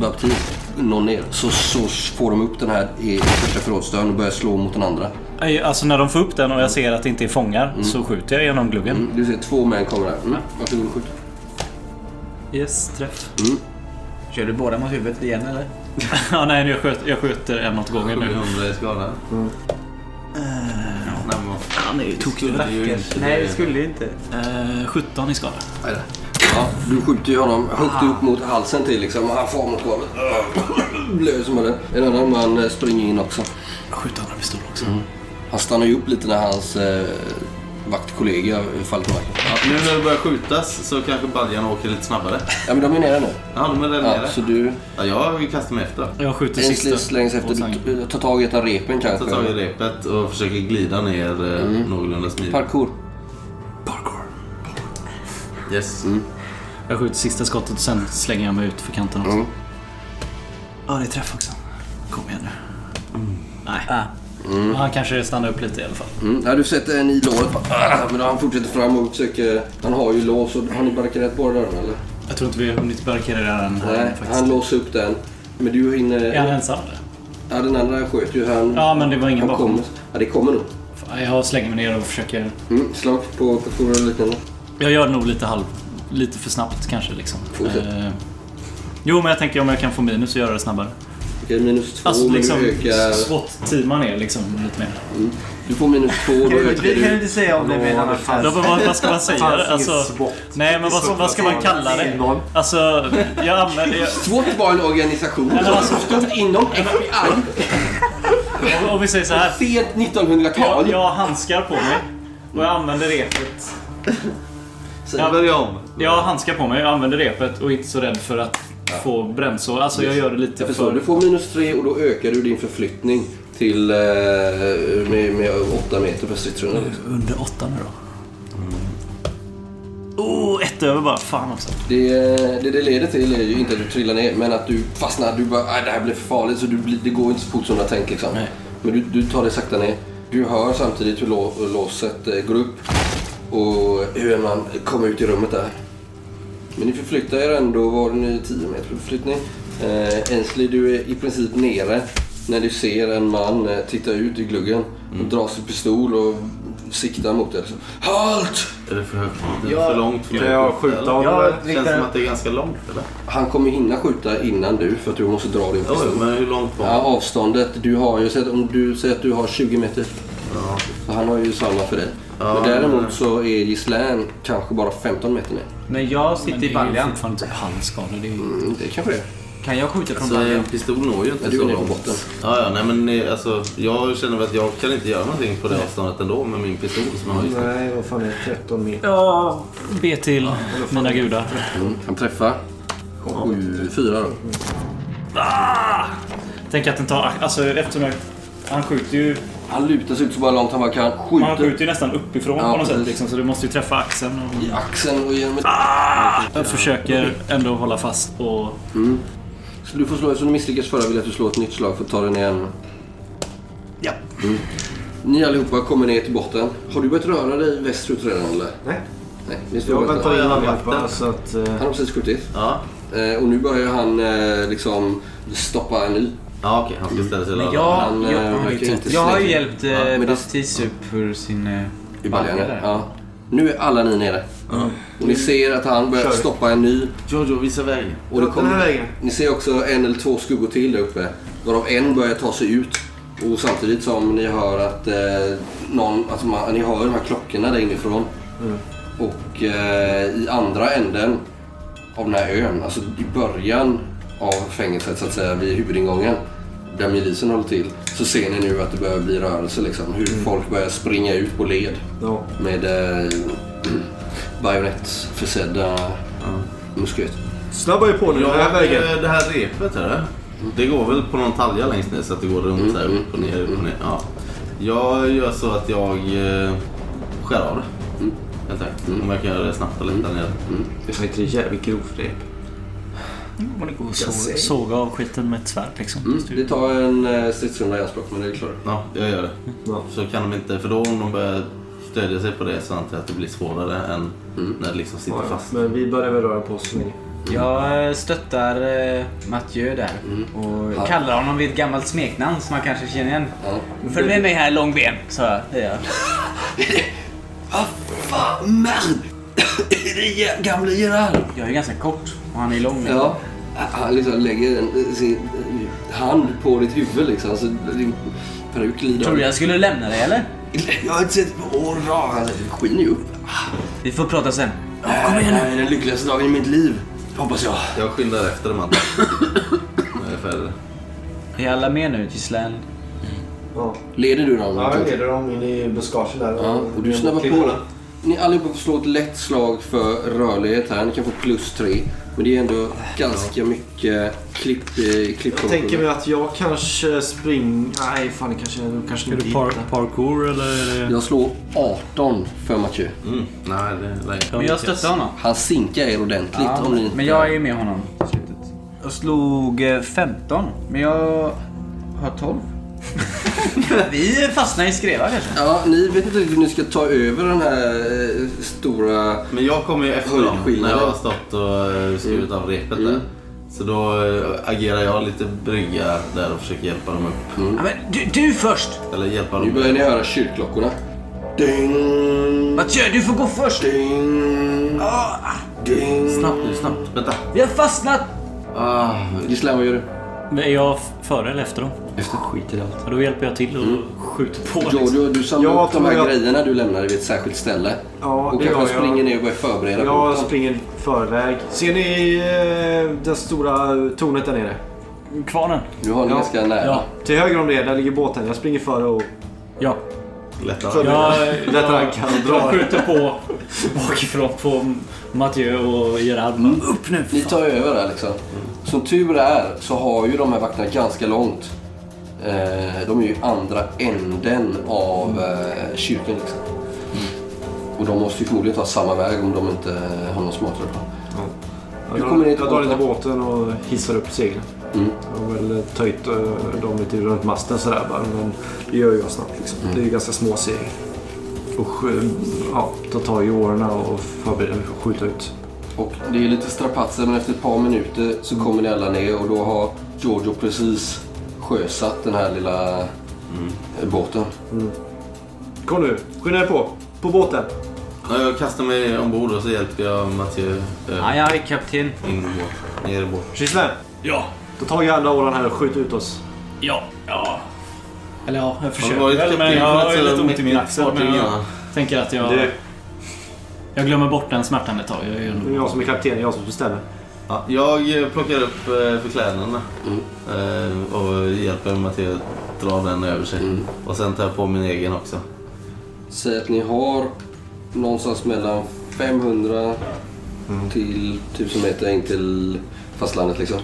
Speaker 3: Baptiste, når ner så, så får de upp den här i första förrådsdörren och börjar slå mot den andra.
Speaker 5: Nej, Alltså när de får upp den och jag ser att det inte är fångar
Speaker 9: Mm.
Speaker 5: så skjuter jag genom gluggen.
Speaker 3: Mm, du ser två män kommer där. Mm, varsågod och skjut.
Speaker 5: Yes, träff.
Speaker 9: Kör du båda mot huvudet igen eller?
Speaker 5: ja, nej, jag, sköt, jag skjuter en åt gången nu.
Speaker 4: 700 eh, i skada. Nej, men vad fan,
Speaker 9: Han är ju
Speaker 4: skulle
Speaker 9: tokig
Speaker 4: ju
Speaker 9: rackare.
Speaker 4: inte
Speaker 9: Nej,
Speaker 4: det.
Speaker 9: det skulle inte.
Speaker 5: Eh, 17 i skada.
Speaker 3: Ja, du skjuter ju honom högt upp mot halsen till liksom. Han far mot golvet.
Speaker 4: Äh.
Speaker 3: Blöder som en- En annan man eh, springer in också.
Speaker 5: Jag skjuter andra pistol också.
Speaker 3: Han stannar ju upp lite när hans eh, vaktkollega faller till marken.
Speaker 4: Ja, nu när det börjar skjutas så kanske baljan åker lite snabbare.
Speaker 3: Ja men de är nere nu.
Speaker 4: Ja, de är där
Speaker 3: Ja,
Speaker 4: nere.
Speaker 3: så du
Speaker 4: Ja, jag kastar mig efter.
Speaker 5: Jag skjuter
Speaker 3: en
Speaker 5: sista.
Speaker 3: slängs efter.
Speaker 5: Och sen-
Speaker 3: Du t- tar tag i ett av repen
Speaker 4: Jag tar tag i
Speaker 3: kanske.
Speaker 4: repet och försöker glida ner eh, någorlunda smidigt.
Speaker 3: Parkour.
Speaker 4: Yes.
Speaker 5: Jag skjuter sista skottet och sen slänger jag mig ut för kanten också.
Speaker 3: Mm.
Speaker 5: Ja, det är träff också. Kom igen nu. Nej. Han kanske stannar upp lite i alla fall.
Speaker 3: Mm. Ja, du sätter en i låret. Ah, Men han fortsätter fram och försöker... Han har ju lås. Och, har ni barrikaderat båda dörrarna eller?
Speaker 5: Jag tror inte vi har hunnit barrikadera den här
Speaker 3: Nej,
Speaker 5: faktiskt.
Speaker 3: han låser upp den. Men du hinner...
Speaker 5: Är han ensam eller?
Speaker 3: Ja, den andra sköt ju. Han,
Speaker 5: Ja, men det var ingen
Speaker 3: han
Speaker 5: bakom.
Speaker 3: kommer. Ja, det kommer nog.
Speaker 5: Fan, Jag slänger mig ner och försöker...
Speaker 3: Mm, slag på parkour eller liknande.
Speaker 5: Jag gör det nog lite halv... Lite för snabbt kanske liksom.
Speaker 3: Fortsätt.
Speaker 5: Eh, Jo, men jag tänker om jag kan få minus och göra det snabbare.
Speaker 3: Okej, minus två.
Speaker 5: Alltså
Speaker 3: men
Speaker 5: liksom
Speaker 3: du, ökar,
Speaker 5: SWAT-teama ner liksom lite mer.
Speaker 3: du får minus två. Då
Speaker 9: Kan du,
Speaker 3: ökar
Speaker 9: kan du
Speaker 3: du.
Speaker 9: inte säga om det blir en annan
Speaker 5: Ja,
Speaker 9: chans?
Speaker 5: men vad, vad ska man säga?
Speaker 7: Fanns ingen
Speaker 5: Alltså,
Speaker 7: SWAT.
Speaker 5: nej, men vad, vad ska man kalla det?
Speaker 7: Noll.
Speaker 5: Alltså, jag använder... Jag,
Speaker 3: SWAT var en organisation
Speaker 5: men
Speaker 3: som
Speaker 5: alltså-
Speaker 3: stod inom FBI
Speaker 5: om- om vi säger så här.
Speaker 3: sent
Speaker 5: Jag,
Speaker 3: 1900-tal.
Speaker 5: jag har handskar på mig och jag använder repet.
Speaker 4: Sen börjar jag om.
Speaker 5: Jag har handskar på mig, jag använder repet och är inte så rädd för att få brännsår. Alltså jag gör det lite
Speaker 3: Jag förstår. Du
Speaker 5: för...
Speaker 3: får minus tre och då ökar du din förflyttning till eh, med, med 8 meter per stridsrunda. liksom.
Speaker 5: Under åtta nu då. Oh, ett över bara. Fan också.
Speaker 3: Det, det det leder till är ju inte att du trillar ner men att du fastnar. Du bara "Aj, det här blir för farligt så du, blir- det går inte så fort som du har tänkt. Liksom.
Speaker 5: Nej.
Speaker 3: Men du, du tar det sakta ner. Du hör samtidigt hur lå, låset eh, går upp och hur en man kommer ut i rummet där. Men ni förflyttar er ändå, var det nu 10 meter förflyttning? Eh, Ensley, du är i princip nere när du ser en man eh, titta ut i gluggen och dra sin pistol och sikta mot dig. Liksom. Halt!
Speaker 4: Är det för högt? Är det
Speaker 9: Ja.
Speaker 4: för långt för
Speaker 7: Kan
Speaker 4: mig
Speaker 7: jag
Speaker 4: att skjuta,
Speaker 7: skjuta
Speaker 4: eller?
Speaker 7: honom? eller?
Speaker 9: Jag
Speaker 4: Känns som
Speaker 9: riktar...
Speaker 4: att det är ganska långt eller?
Speaker 3: Han kommer hinna skjuta innan du för att du måste dra din
Speaker 4: Jo,
Speaker 3: pistol.
Speaker 4: men hur långt var
Speaker 3: Ja,
Speaker 4: det?
Speaker 3: avståndet. Du har ju sett, om du säger att du har 20 meter.
Speaker 4: Ja.
Speaker 3: Så han har ju samma för dig.
Speaker 4: Ja,
Speaker 3: Men däremot
Speaker 4: nej.
Speaker 3: så är Gislaine kanske bara 15 meter ner.
Speaker 9: Men jag
Speaker 5: Men
Speaker 9: sitter
Speaker 5: det
Speaker 9: i
Speaker 5: är ju
Speaker 9: baljan.
Speaker 5: fortfarande typ halvskador. Det är ju...
Speaker 3: Mm, det kanske det är.
Speaker 9: Kan jag skjuta från
Speaker 4: Så Alltså, en
Speaker 9: baljan?
Speaker 4: pistol når ju inte
Speaker 3: Ja, du är
Speaker 4: så
Speaker 3: nere på
Speaker 4: långt.
Speaker 3: botten.
Speaker 4: Ja, ja, nej, men eh, alltså, jag känner väl att jag kan inte göra någonting på det avståndet ändå med min pistol som jag har just nu.
Speaker 7: Nej, vad fan är det? 13 meter?
Speaker 5: Ja, be till mina gudar.
Speaker 3: Mm. Han träffar. 7-4 då.
Speaker 5: Tänk att den tar... Alltså eftersom jag... Han skjuter ju...
Speaker 3: Han lutar sig ut så bara långt han bara kan.
Speaker 5: Man
Speaker 3: Skjuter
Speaker 5: skjuter ju nästan uppifrån
Speaker 3: Ja,
Speaker 5: på något sätt
Speaker 3: precis.
Speaker 5: liksom. Så du måste ju Ah! träffa axeln. Och...
Speaker 3: i axeln och genom ett...
Speaker 5: Jag försöker ändå hålla fast och...
Speaker 3: Så du får slå, eftersom du misslyckas förra vill jag att du slår ett nytt slag för att ta den igen. Mm.
Speaker 5: Ja.
Speaker 3: Ni allihopa kommer ner till botten. Har du börjat röra dig västerut redan eller?
Speaker 7: Nej.
Speaker 3: Nej, ni står
Speaker 7: Jag
Speaker 3: och väntar.
Speaker 7: väntar in
Speaker 4: jag har
Speaker 7: allihopa
Speaker 4: vakten.
Speaker 7: så att... eh,
Speaker 3: Han har precis skjutit.
Speaker 4: Ja,
Speaker 3: Eh, och nu börjar han eh, liksom stoppa en ny.
Speaker 4: ja okej. Han ska ställa sig
Speaker 9: Men
Speaker 4: där.
Speaker 9: jag,
Speaker 3: Han, eh,
Speaker 9: jag,
Speaker 3: verkar inte
Speaker 9: jag har ju
Speaker 3: släkt.
Speaker 9: hjälpt
Speaker 3: Ja, men
Speaker 9: eh,
Speaker 3: det-
Speaker 9: Baptiste upp för sin... eh,
Speaker 3: I baljan,
Speaker 9: balja där.
Speaker 3: ja. Nu är alla ni nere. Och ni ser att han börjar
Speaker 7: Kör.
Speaker 3: stoppa en ny.
Speaker 4: Jojo, visa vägen.
Speaker 3: Och det
Speaker 7: Den här vägen.
Speaker 3: kommer, ni ser också en eller två skuggor till där uppe. Varav en börjar ta sig ut. Och samtidigt som ni hör att eh, någon, alltså man, ni hör de här klockorna där inifrån. Och eh, i andra änden av den här ön, alltså i början av fängelset så att säga, vid huvudingången. Där milisen håller till. Så ser ni nu att det börjar bli rörelse liksom. Hur folk börjar springa ut på led
Speaker 7: Ja.
Speaker 3: med eh, bajonettförsedda musköter.
Speaker 7: Snabba er på nu den här
Speaker 4: Ja,
Speaker 7: vägen.
Speaker 4: eh, det här repet eller? Det går väl på någon talja längst ner så att det går runt så här
Speaker 7: Mm,
Speaker 4: upp och ner, upp och ner. Ja. Jag gör så att jag eh, skär av det.
Speaker 7: Mm.
Speaker 4: Helt enkelt. Om jag kan göra det snabbt och lätt där nere.
Speaker 11: Det var ett jävligt grovt rep.
Speaker 5: Man går och
Speaker 3: Jag
Speaker 5: så-
Speaker 3: säger.
Speaker 5: såga av skiten med ett svärd liksom.
Speaker 3: Mm. Det tar en eh, stridsrunda i anspråk, men det är klart.
Speaker 4: Ja, jag gör det. Så kan de inte, för då om de börjar stödja sig på det så antar jag att det blir svårare än när det liksom sitter
Speaker 7: Mm. Ja, ja.
Speaker 4: fast.
Speaker 7: Men vi börjar väl röra på oss. mer.
Speaker 9: Jag eh, stöttar eh, Mathieu där och
Speaker 7: Ja.
Speaker 9: kallar honom vid ett gammalt smeknamn som man kanske känner igen. Följ
Speaker 7: Det-
Speaker 9: med mig här långben, sa jag. Det gör jag.
Speaker 3: Fan, men! det är gamle Gerard!
Speaker 9: Jag är ganska kort och han är lång.
Speaker 3: Ja. Han liksom lägger en, sin eh, hand på ditt huvud liksom. Så din peruk glider
Speaker 9: Tror du jag skulle lämna dig eller?
Speaker 3: Jag har inte sett på år rakt. Han Alltså, skiner ju upp.
Speaker 9: Vi får prata sen.
Speaker 3: Kom igen nu! Det här är den lyckligaste dagen i mitt liv. Hoppas jag.
Speaker 4: Jag skyndar efter dem andra. Jag är färdig.
Speaker 9: Är alla med nu till Slan?
Speaker 7: Ja.
Speaker 3: Leder du dem?
Speaker 10: Ja, jag leder dem in i buskagen där.
Speaker 3: Ja, och du snabbar på den. Ni allihopa får slå ett lätt slag för rörlighet här. Ni kan få plus tre. Men det är ändå ganska mycket klipp, eh,
Speaker 7: Jag
Speaker 3: klippfunktioner.
Speaker 7: tänker mig att jag kanske spring... Nej, fan det kanske... Då kanske
Speaker 3: Är
Speaker 7: inte
Speaker 3: du par-
Speaker 7: hittar.
Speaker 5: Parkour eller?
Speaker 3: Jag slår 18 för Mathieu.
Speaker 4: Nej, det lär
Speaker 9: Men jag stöttar honom.
Speaker 3: Han sinkar er ordentligt
Speaker 9: Ja,
Speaker 3: om ni inte...
Speaker 9: men jag är med honom. Jag slog eh, 15, men jag har 12. Vi fastnar i skrevar kanske.
Speaker 3: Ja, ni vet inte riktigt hur ni ska ta över den här eh, stora...
Speaker 4: Men jag kommer ju efter dem när jag har stått och eh, skurit av repet där. Så då eh, agerar jag lite brygga där och försöker hjälpa dem upp.
Speaker 9: Ja, men du, du först!
Speaker 4: Eller hjälpa dem
Speaker 3: Nu börjar ni höra kyrkklockorna. Ding!
Speaker 9: Mathieu, du får gå först!
Speaker 3: Ding!
Speaker 9: Ah,
Speaker 3: Ding!
Speaker 4: Snabbt nu, snabbt. Vänta.
Speaker 9: vi har fastnat!
Speaker 4: Ah,
Speaker 3: Gislan, vad gör du?
Speaker 5: Men är jag f- före eller efter dem?
Speaker 3: Efter.
Speaker 5: Skit i allt. Då hjälper jag till och skjuter på. liksom.
Speaker 3: Giorgio, du samlar
Speaker 5: Jag
Speaker 3: upp de här
Speaker 5: tror jag-
Speaker 3: grejerna du lämnade vid ett särskilt ställe.
Speaker 7: Ja,
Speaker 3: och
Speaker 7: det
Speaker 3: kanske
Speaker 7: gör jag.
Speaker 3: springer ner och börjar förbereda på
Speaker 7: Jag
Speaker 3: dem.
Speaker 7: springer i förväg. Ser ni eh, det stora tornet där nere?
Speaker 5: Kvarnen?
Speaker 3: Du har den ganska nära.
Speaker 7: Ja. Till höger om det, där ligger båten. Jag springer före och...
Speaker 5: Ja.
Speaker 4: Lättar
Speaker 7: Så- Lättar ankar och
Speaker 5: Jag skjuter
Speaker 7: drar.
Speaker 5: på bakifrån på Mathieu och Gerard. Mm, Upp nu!
Speaker 3: Ni tar över där liksom. Som tur är så har ju de här vakterna ganska långt. Eh, de är ju i andra änden av eh, kyrkan liksom. Och de måste ju förmodligen ta samma väg om de inte har någon smartare plan.
Speaker 7: Jag
Speaker 3: Du kommer
Speaker 7: drar,
Speaker 3: ner till
Speaker 7: jag drar lite
Speaker 3: båten.
Speaker 7: båten och hissar upp seglen.
Speaker 3: Mm.
Speaker 7: Jag har väl eh, töjt eh, dem lite runt masten sådär bara. Men det gör jag snabbt liksom. Det är ju ganska små segel. Och sk- ja, ta tag i åren och förbereda mig för att skjuta ut.
Speaker 3: Och det är lite strapatser men efter ett par minuter så kommer ni alla ner och då har Giorgio precis sjösatt den här lilla eh, båten.
Speaker 7: Kom nu, skynda er på! På båten!
Speaker 4: Ja, jag kastar mig ombord och så hjälper jag Mattias.
Speaker 9: Ja, jag är kapten.
Speaker 4: In i båten. Ner i båten.
Speaker 7: Kysslen!
Speaker 5: Ja!
Speaker 7: Ta tag i andra åren här och skjut ut oss.
Speaker 5: Ja. ja. Eller ja, jag försöker
Speaker 4: varit
Speaker 5: väl men
Speaker 4: kapten
Speaker 5: jag
Speaker 4: för
Speaker 5: har
Speaker 4: att
Speaker 5: ju
Speaker 4: säga
Speaker 5: lite ont i min
Speaker 4: mitt
Speaker 5: axel.
Speaker 4: fartyg
Speaker 5: Men jag
Speaker 4: innan.
Speaker 5: tänker att jag...
Speaker 4: Du.
Speaker 5: Jag glömmer bort den smärtan ett tag. Jag gör
Speaker 7: Det är jag som är kapten, det är jag som bestämmer.
Speaker 4: Ja, jag eh, plockar upp eh, förklädnaderna Eh, och hjälper Mattias dra den över sig. Och sen tar jag på min egen också.
Speaker 3: Säg att ni har någonstans mellan 500 till 1000 meter in till fastlandet liksom.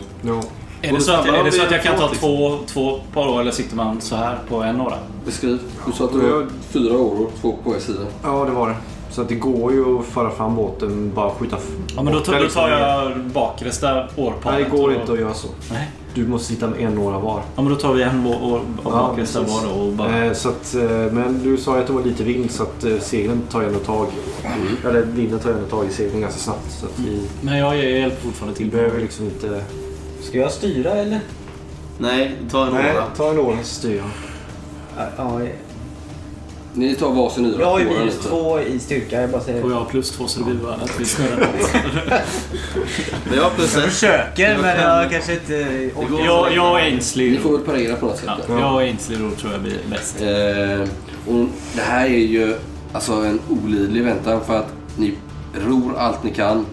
Speaker 5: Är det, så att, är det så att jag kan ta två, två par år eller sitter man så här på en åra?
Speaker 3: Beskriv. Du sa att du har fyra åror, två på er sida.
Speaker 7: Ja, det var det. Så att det går ju att föra fram båten, bara skjuta f-
Speaker 5: Ja, men då,
Speaker 7: borta
Speaker 5: tar- då
Speaker 7: liksom.
Speaker 5: tar jag bakresta årparet.
Speaker 7: Nej, det går
Speaker 5: och-
Speaker 7: inte att göra så.
Speaker 5: Nej.
Speaker 7: Du måste sitta med en några var.
Speaker 5: Ja, men då tar vi en år, år, av bakresta
Speaker 7: precis.
Speaker 5: var då och bara...
Speaker 7: Eh, så att, eh, men du sa ju att det var lite vind så att eh, seglen tar ju ändå tag. Eller vinden tar ju ändå tag i seglen ganska snabbt. Så att vi,
Speaker 5: Men jag, jag hjälper fortfarande
Speaker 7: vi
Speaker 5: till.
Speaker 7: behöver liksom inte...
Speaker 11: Ska jag styra eller?
Speaker 4: Nej, ta en
Speaker 7: Nej,
Speaker 4: åra.
Speaker 7: ta en åra så styr jag.
Speaker 11: Ja,
Speaker 3: Ni tar varsin yra
Speaker 11: jag har ju
Speaker 3: på åren
Speaker 11: minus
Speaker 3: lite.
Speaker 11: två i styrka. Jag bara säger.
Speaker 5: Och jag har plus två så det blir bara att vi snurrar
Speaker 4: Men jag har plus
Speaker 9: Jag
Speaker 4: ett.
Speaker 9: försöker, men jag kanske inte orkar.
Speaker 5: Jag, jag är ängslig.
Speaker 3: Ni får väl parera på något sätt.
Speaker 5: Ja,
Speaker 3: ja.
Speaker 5: jag är ängslig då tror jag blir bäst.
Speaker 3: Eh, och det här är ju alltså en olidlig väntan för att ni ror allt ni kan.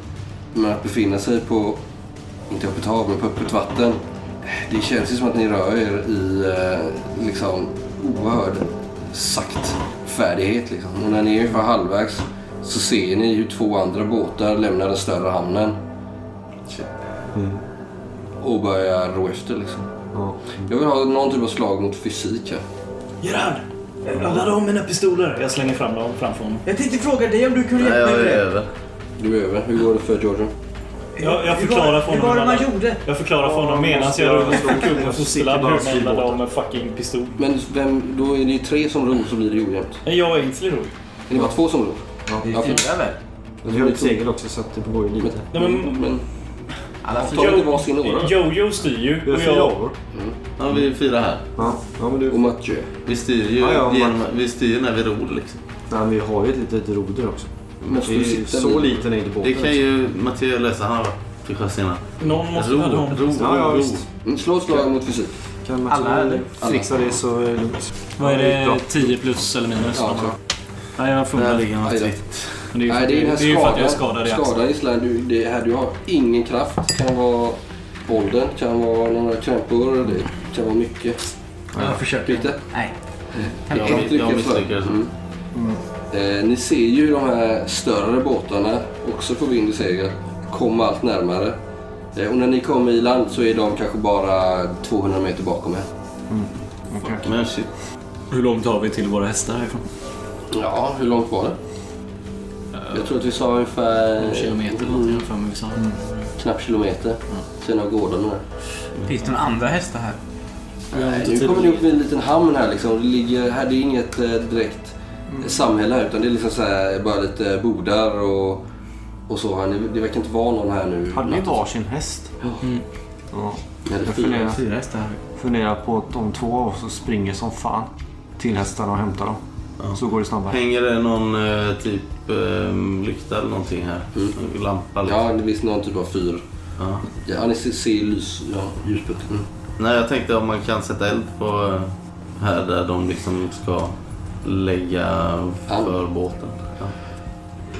Speaker 3: Men att befinna sig på, inte öppet hav, men på öppet vatten. Det känns ju som att ni rör er i eh, liksom oerhörd saktfärdighet. Liksom. Och när ni är ungefär halvvägs så ser ni hur två andra båtar lämnar den större hamnen. Och börja rå efter liksom. Jag vill ha någon typ av slag mot fysik här.
Speaker 6: Gerard! Jag laddar om mina pistoler. Jag slänger fram dem framför honom.
Speaker 9: Jag tänkte fråga dig om du kunde
Speaker 6: Nej,
Speaker 9: hjälpa mig
Speaker 6: jag
Speaker 9: med
Speaker 6: är
Speaker 9: det.
Speaker 6: över.
Speaker 3: Du är över. Hur går det för Georgia?
Speaker 6: Jag, jag
Speaker 9: Hur
Speaker 6: förklarar
Speaker 9: var-
Speaker 6: för
Speaker 9: hur
Speaker 6: honom.
Speaker 9: var det
Speaker 6: hur
Speaker 9: man
Speaker 6: laddar-
Speaker 9: gjorde?
Speaker 6: Jag förklarar för
Speaker 9: Ja,
Speaker 6: honom
Speaker 9: man
Speaker 6: medan
Speaker 9: måste
Speaker 6: jag
Speaker 9: göra-
Speaker 6: fick upp
Speaker 9: Jag
Speaker 6: med fosterlabb hur
Speaker 9: sitter bara
Speaker 6: man laddar
Speaker 9: fyrbåtar.
Speaker 6: om en fucking pistol.
Speaker 3: Men vem, då är det tre som ror så blir det ju ojämnt.
Speaker 6: Nej, jag är Ainsley ror.
Speaker 3: Är det bara två som ror?
Speaker 7: Ja.
Speaker 3: Ja, okej.
Speaker 7: Men du har ju ett segel också så att det går ju
Speaker 3: Mm.
Speaker 7: lite.
Speaker 6: Nej, men-
Speaker 3: men-
Speaker 7: Alla
Speaker 3: fyra- Ta inte varsin åra.
Speaker 6: Jojo styr ju.
Speaker 7: Vi har
Speaker 6: och
Speaker 7: fyra
Speaker 6: jag-
Speaker 7: åror.
Speaker 4: Ja, vi är fyra här.
Speaker 7: Ja, ja men du...
Speaker 3: Och Mathieu.
Speaker 4: Vi styr ju
Speaker 7: Ja, ja,
Speaker 4: genom, vi styr när vi ror liksom.
Speaker 7: Nej, men vi har ju ett litet roder också.
Speaker 4: Måste
Speaker 7: Det är
Speaker 4: du
Speaker 7: ju
Speaker 4: sitta
Speaker 7: så
Speaker 4: vid-
Speaker 7: liten är inte båten. liksom.
Speaker 4: Det kan ju Matteo lösa. Han har varit till sjöss innan.
Speaker 6: Någon
Speaker 4: måste Ro, ha någon. ro,
Speaker 7: ja, ja,
Speaker 4: ro.
Speaker 7: visst.
Speaker 3: Mm, slå ett slag mot fysik.
Speaker 7: Kan man
Speaker 5: Alla, eller?
Speaker 7: fixa det så är det lugnt.
Speaker 5: Vad är
Speaker 7: Ja,
Speaker 5: det? 10 plus eller minus?
Speaker 3: Ja, tror jag.
Speaker 5: Nej, jag fumlar.
Speaker 4: Där ligger han
Speaker 5: Men
Speaker 4: fritt.
Speaker 5: Det är ju
Speaker 3: Nej, det är den här
Speaker 5: det är ju för att jag är
Speaker 3: skadan.
Speaker 5: skadad i
Speaker 3: Skadan i
Speaker 5: axeln.
Speaker 3: slang. Du, det här, du har ingen kraft. Det kan vara åldern, det kan vara några krämpor, det kan vara mycket.
Speaker 9: Jag försöker.
Speaker 3: Lite.
Speaker 9: Nej.
Speaker 3: Jag,
Speaker 4: Jag- jag
Speaker 3: jag
Speaker 4: misslyckades.
Speaker 3: Mm. Eh, ni ser ju de här större båtarna, också på vind i segel, komma allt närmare. Eh, och när ni kommer i land så är de kanske bara 200 meter bakom er.
Speaker 4: Men shit.
Speaker 5: Hur långt har vi till våra hästar härifrån?
Speaker 3: Ja, hur långt var det? jag tror att vi sa ungefär... Mm.
Speaker 5: Någon kilometer eller någonting, jag har för mig vi sa.
Speaker 6: Mm.
Speaker 3: Knappt kilometer. Sen har gårdarna där.
Speaker 9: Finns det några andra hästar här?
Speaker 3: Nej, Nu typ- kommer ni upp i en liten hamn här liksom. Det, ligger, här, det är inget eh, direkt
Speaker 9: Mm.
Speaker 3: samhälle här utan det är liksom så här, bara lite bodar och, och så. Här. Ni- Det verkar inte vara någon här nu.
Speaker 7: Hade ni varsin häst? Mm.
Speaker 3: Ja.
Speaker 7: Ja.
Speaker 3: Ja, det är
Speaker 7: Jag
Speaker 3: fyra.
Speaker 7: funderar,
Speaker 9: Fyra hästar här.
Speaker 7: funderar på att de två av oss springer som fan till hästarna och hämtar dem. Så går det snabbare.
Speaker 4: Hänger det någon eh, typ eh, lykta eller någonting här? En Lampa liksom.
Speaker 3: Ja, det finns någon typ av fyr.
Speaker 4: Ja.
Speaker 3: Ja, ni ser, ser lys, ja, ljuspunkter. Mm.
Speaker 4: Nej, jag tänkte om man kan sätta eld på eh, här där de liksom ska lägga för båten. Ja.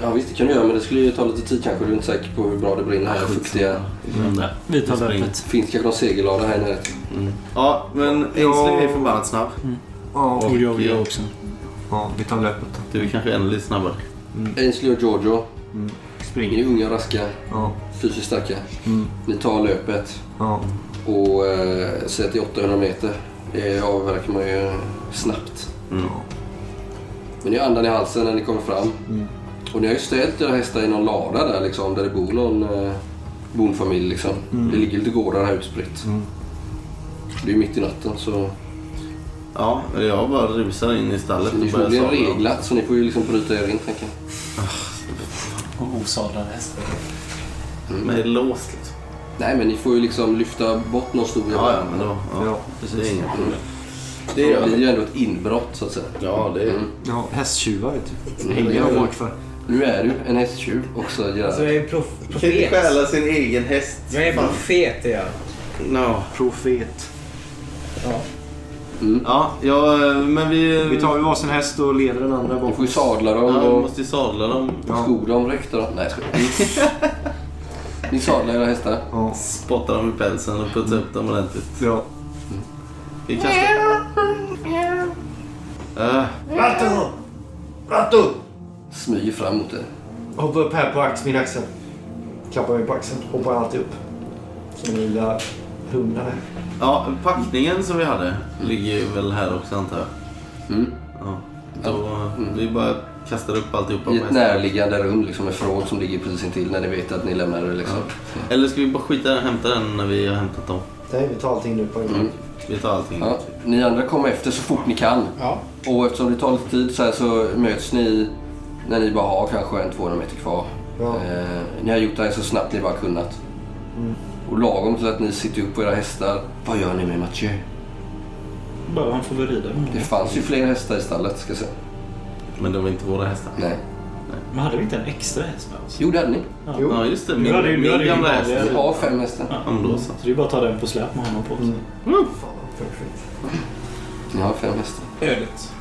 Speaker 3: Ja visst, det kan du göra men det skulle ju ta lite tid kanske. Du är inte säker på hur bra det brinner här. Fuktiga.
Speaker 4: Mm. där.
Speaker 5: Vi tar
Speaker 4: springer.
Speaker 5: löpet.
Speaker 3: Finns kanske någon segellada här i närheten.
Speaker 4: Ja, men Ainsley är förbannat snabb.
Speaker 7: Ja,
Speaker 5: Och jag, jag också.
Speaker 7: ja, vi tar löpet. då.
Speaker 4: Du är kanske ännu lite snabbare.
Speaker 3: Ainsley och Giorgio. Ni
Speaker 7: Springer.
Speaker 3: är unga och raska.
Speaker 7: Ja,
Speaker 3: Fysiskt starka.
Speaker 7: Mm.
Speaker 3: Ni tar löpet.
Speaker 7: ja.
Speaker 3: Och eh, säg att det är 800 meter. Det avverkar man ju snabbt. Men ni har andan i halsen när ni kommer fram. Och ni har ju ställt era hästar i någon lada där liksom, där det bor någon eh, bonfamilj. Liksom. Det ligger lite gårdar här utspritt. Det är ju mitt i natten så
Speaker 4: Ja, jag bara rusar in i stallet
Speaker 3: ni
Speaker 4: och
Speaker 3: får
Speaker 4: börjar
Speaker 3: bli
Speaker 4: sadla.
Speaker 3: reglat så ni får ju liksom bryta er in tänker jag.
Speaker 5: Och osadlade hästar.
Speaker 4: Men det är låst liksom.
Speaker 3: Nej men ni får ju liksom lyfta bort någon stor
Speaker 4: Ja, ja, men då. Ja,
Speaker 7: Ja,
Speaker 4: precis. Det är inga problem.
Speaker 3: Det blir ju ändå ett inbrott så att säga.
Speaker 4: Ja, det är...
Speaker 3: Mm.
Speaker 7: ja hästtjuvar vet du. Det
Speaker 3: Mm.
Speaker 7: hänger jag folk för.
Speaker 3: Nu är du en hästtjuv också
Speaker 11: Alltså
Speaker 3: Gerard.
Speaker 11: jag är prof-
Speaker 4: Kan inte
Speaker 11: profet.
Speaker 4: stjäla sin egen häst.
Speaker 11: Jag är fan fet är jag.
Speaker 4: No.
Speaker 7: Profet.
Speaker 4: Ja, ja, eh, men vi...
Speaker 7: Vi tar ju varsin häst och leder den andra
Speaker 3: Du
Speaker 7: bort.
Speaker 3: får ju sadla dem
Speaker 4: Ja, vi
Speaker 3: och
Speaker 4: måste ju sadla dem.
Speaker 7: Ja.
Speaker 3: sko dem, rökta dem. Nej jag skojar. Ni sadlar era hästar.
Speaker 7: Ja,
Speaker 4: Spotta dem i pälsen och putsa upp dem ordentligt.
Speaker 7: ja.
Speaker 4: Vi kanske... Äh,
Speaker 10: Ratto! Ratto!
Speaker 3: Smyger fram mot er.
Speaker 10: Hoppa upp här på ax, min axel. Klappar mig på axeln. Hoppar alltid upp. Som den lilla hunden här.
Speaker 4: ja, packningen som vi hade ligger ju väl här också antar jag.
Speaker 3: Mm.
Speaker 4: Ja. Då, eh, Vi bara kastar upp alltihopa
Speaker 3: I
Speaker 4: på
Speaker 3: ett
Speaker 4: hästen.
Speaker 3: närliggande rum, liksom ett förråd som ligger precis intill när ni vet att ni lämnar det. Liksom.
Speaker 4: Eller ska vi bara skita i den och hämta den när vi har hämtat dem?
Speaker 10: Nej, vi tar allting nu på en gång.
Speaker 3: Mm.
Speaker 4: Vi tar allting.
Speaker 3: Ja. Ni andra kommer efter så fort ni kan.
Speaker 8: Ja.
Speaker 3: Och eftersom det tar lite tid så, här så möts ni när ni bara har kanske en 200 meter kvar.
Speaker 10: Ja.
Speaker 3: Eh, ni har gjort det här så snabbt ni bara kunnat. Och lagom till att ni sitter upp på era hästar. Vad gör ni med Mathieu?
Speaker 6: Bara han får väl rida.
Speaker 5: Mm.
Speaker 3: Det fanns ju fler hästar i stallet ska jag säga.
Speaker 4: Men de är inte våra hästar.
Speaker 3: Nej.
Speaker 6: Men hade vi inte en extra häst med oss?
Speaker 3: Jo det hade ni.
Speaker 10: Jo.
Speaker 4: Ja, just det.
Speaker 6: Du hade ju-
Speaker 4: Min,
Speaker 6: du hade
Speaker 4: min
Speaker 6: ju
Speaker 4: gamla
Speaker 6: din
Speaker 4: häst.
Speaker 6: vanliga-
Speaker 3: Ni har fem hästar.
Speaker 4: Ja, men då så.
Speaker 6: Så det är bara att ta den på släp med honom på sig.
Speaker 10: Fan, perfekt.
Speaker 3: Ni har fem hästar.
Speaker 6: Ödigt.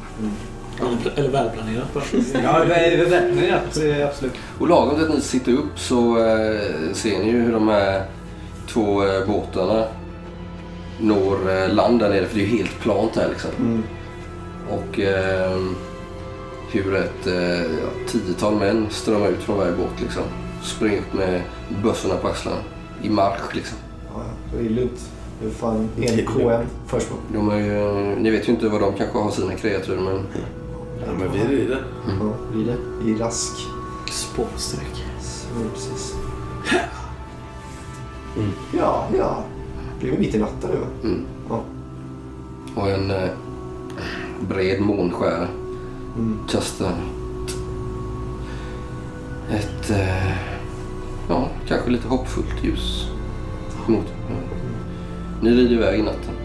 Speaker 6: Eller- Eller välplanerat bara.
Speaker 11: Ja, det är väl välplanerat. Absolut.
Speaker 3: Och lagom till att ni sitter upp så eh, ser ni ju hur de här två eh, båtarna når eh, land där nere för det är ju helt plant här liksom. Och eh, hur ett eh, ja, tiotal män strömmar ut från varje båt liksom. Springer upp med bössorna på axlarna. i marsch liksom.
Speaker 7: Ja, det är lugnt. Det är fan en KM först på.
Speaker 3: De är ju, ni vet ju inte vad de kanske har sina kreatur men...
Speaker 4: Ja, men vi rider.
Speaker 7: Ja, rider. I rask.
Speaker 12: Spårsträck.
Speaker 7: Ja, precis. Ja, ja. Det blir väl mitt i natten nu va?
Speaker 3: Mm.
Speaker 7: Ja.
Speaker 3: Och en eh, bred månskär kastar ett, eh, ja, kanske lite hoppfullt ljus mot. Ni rider iväg i natten.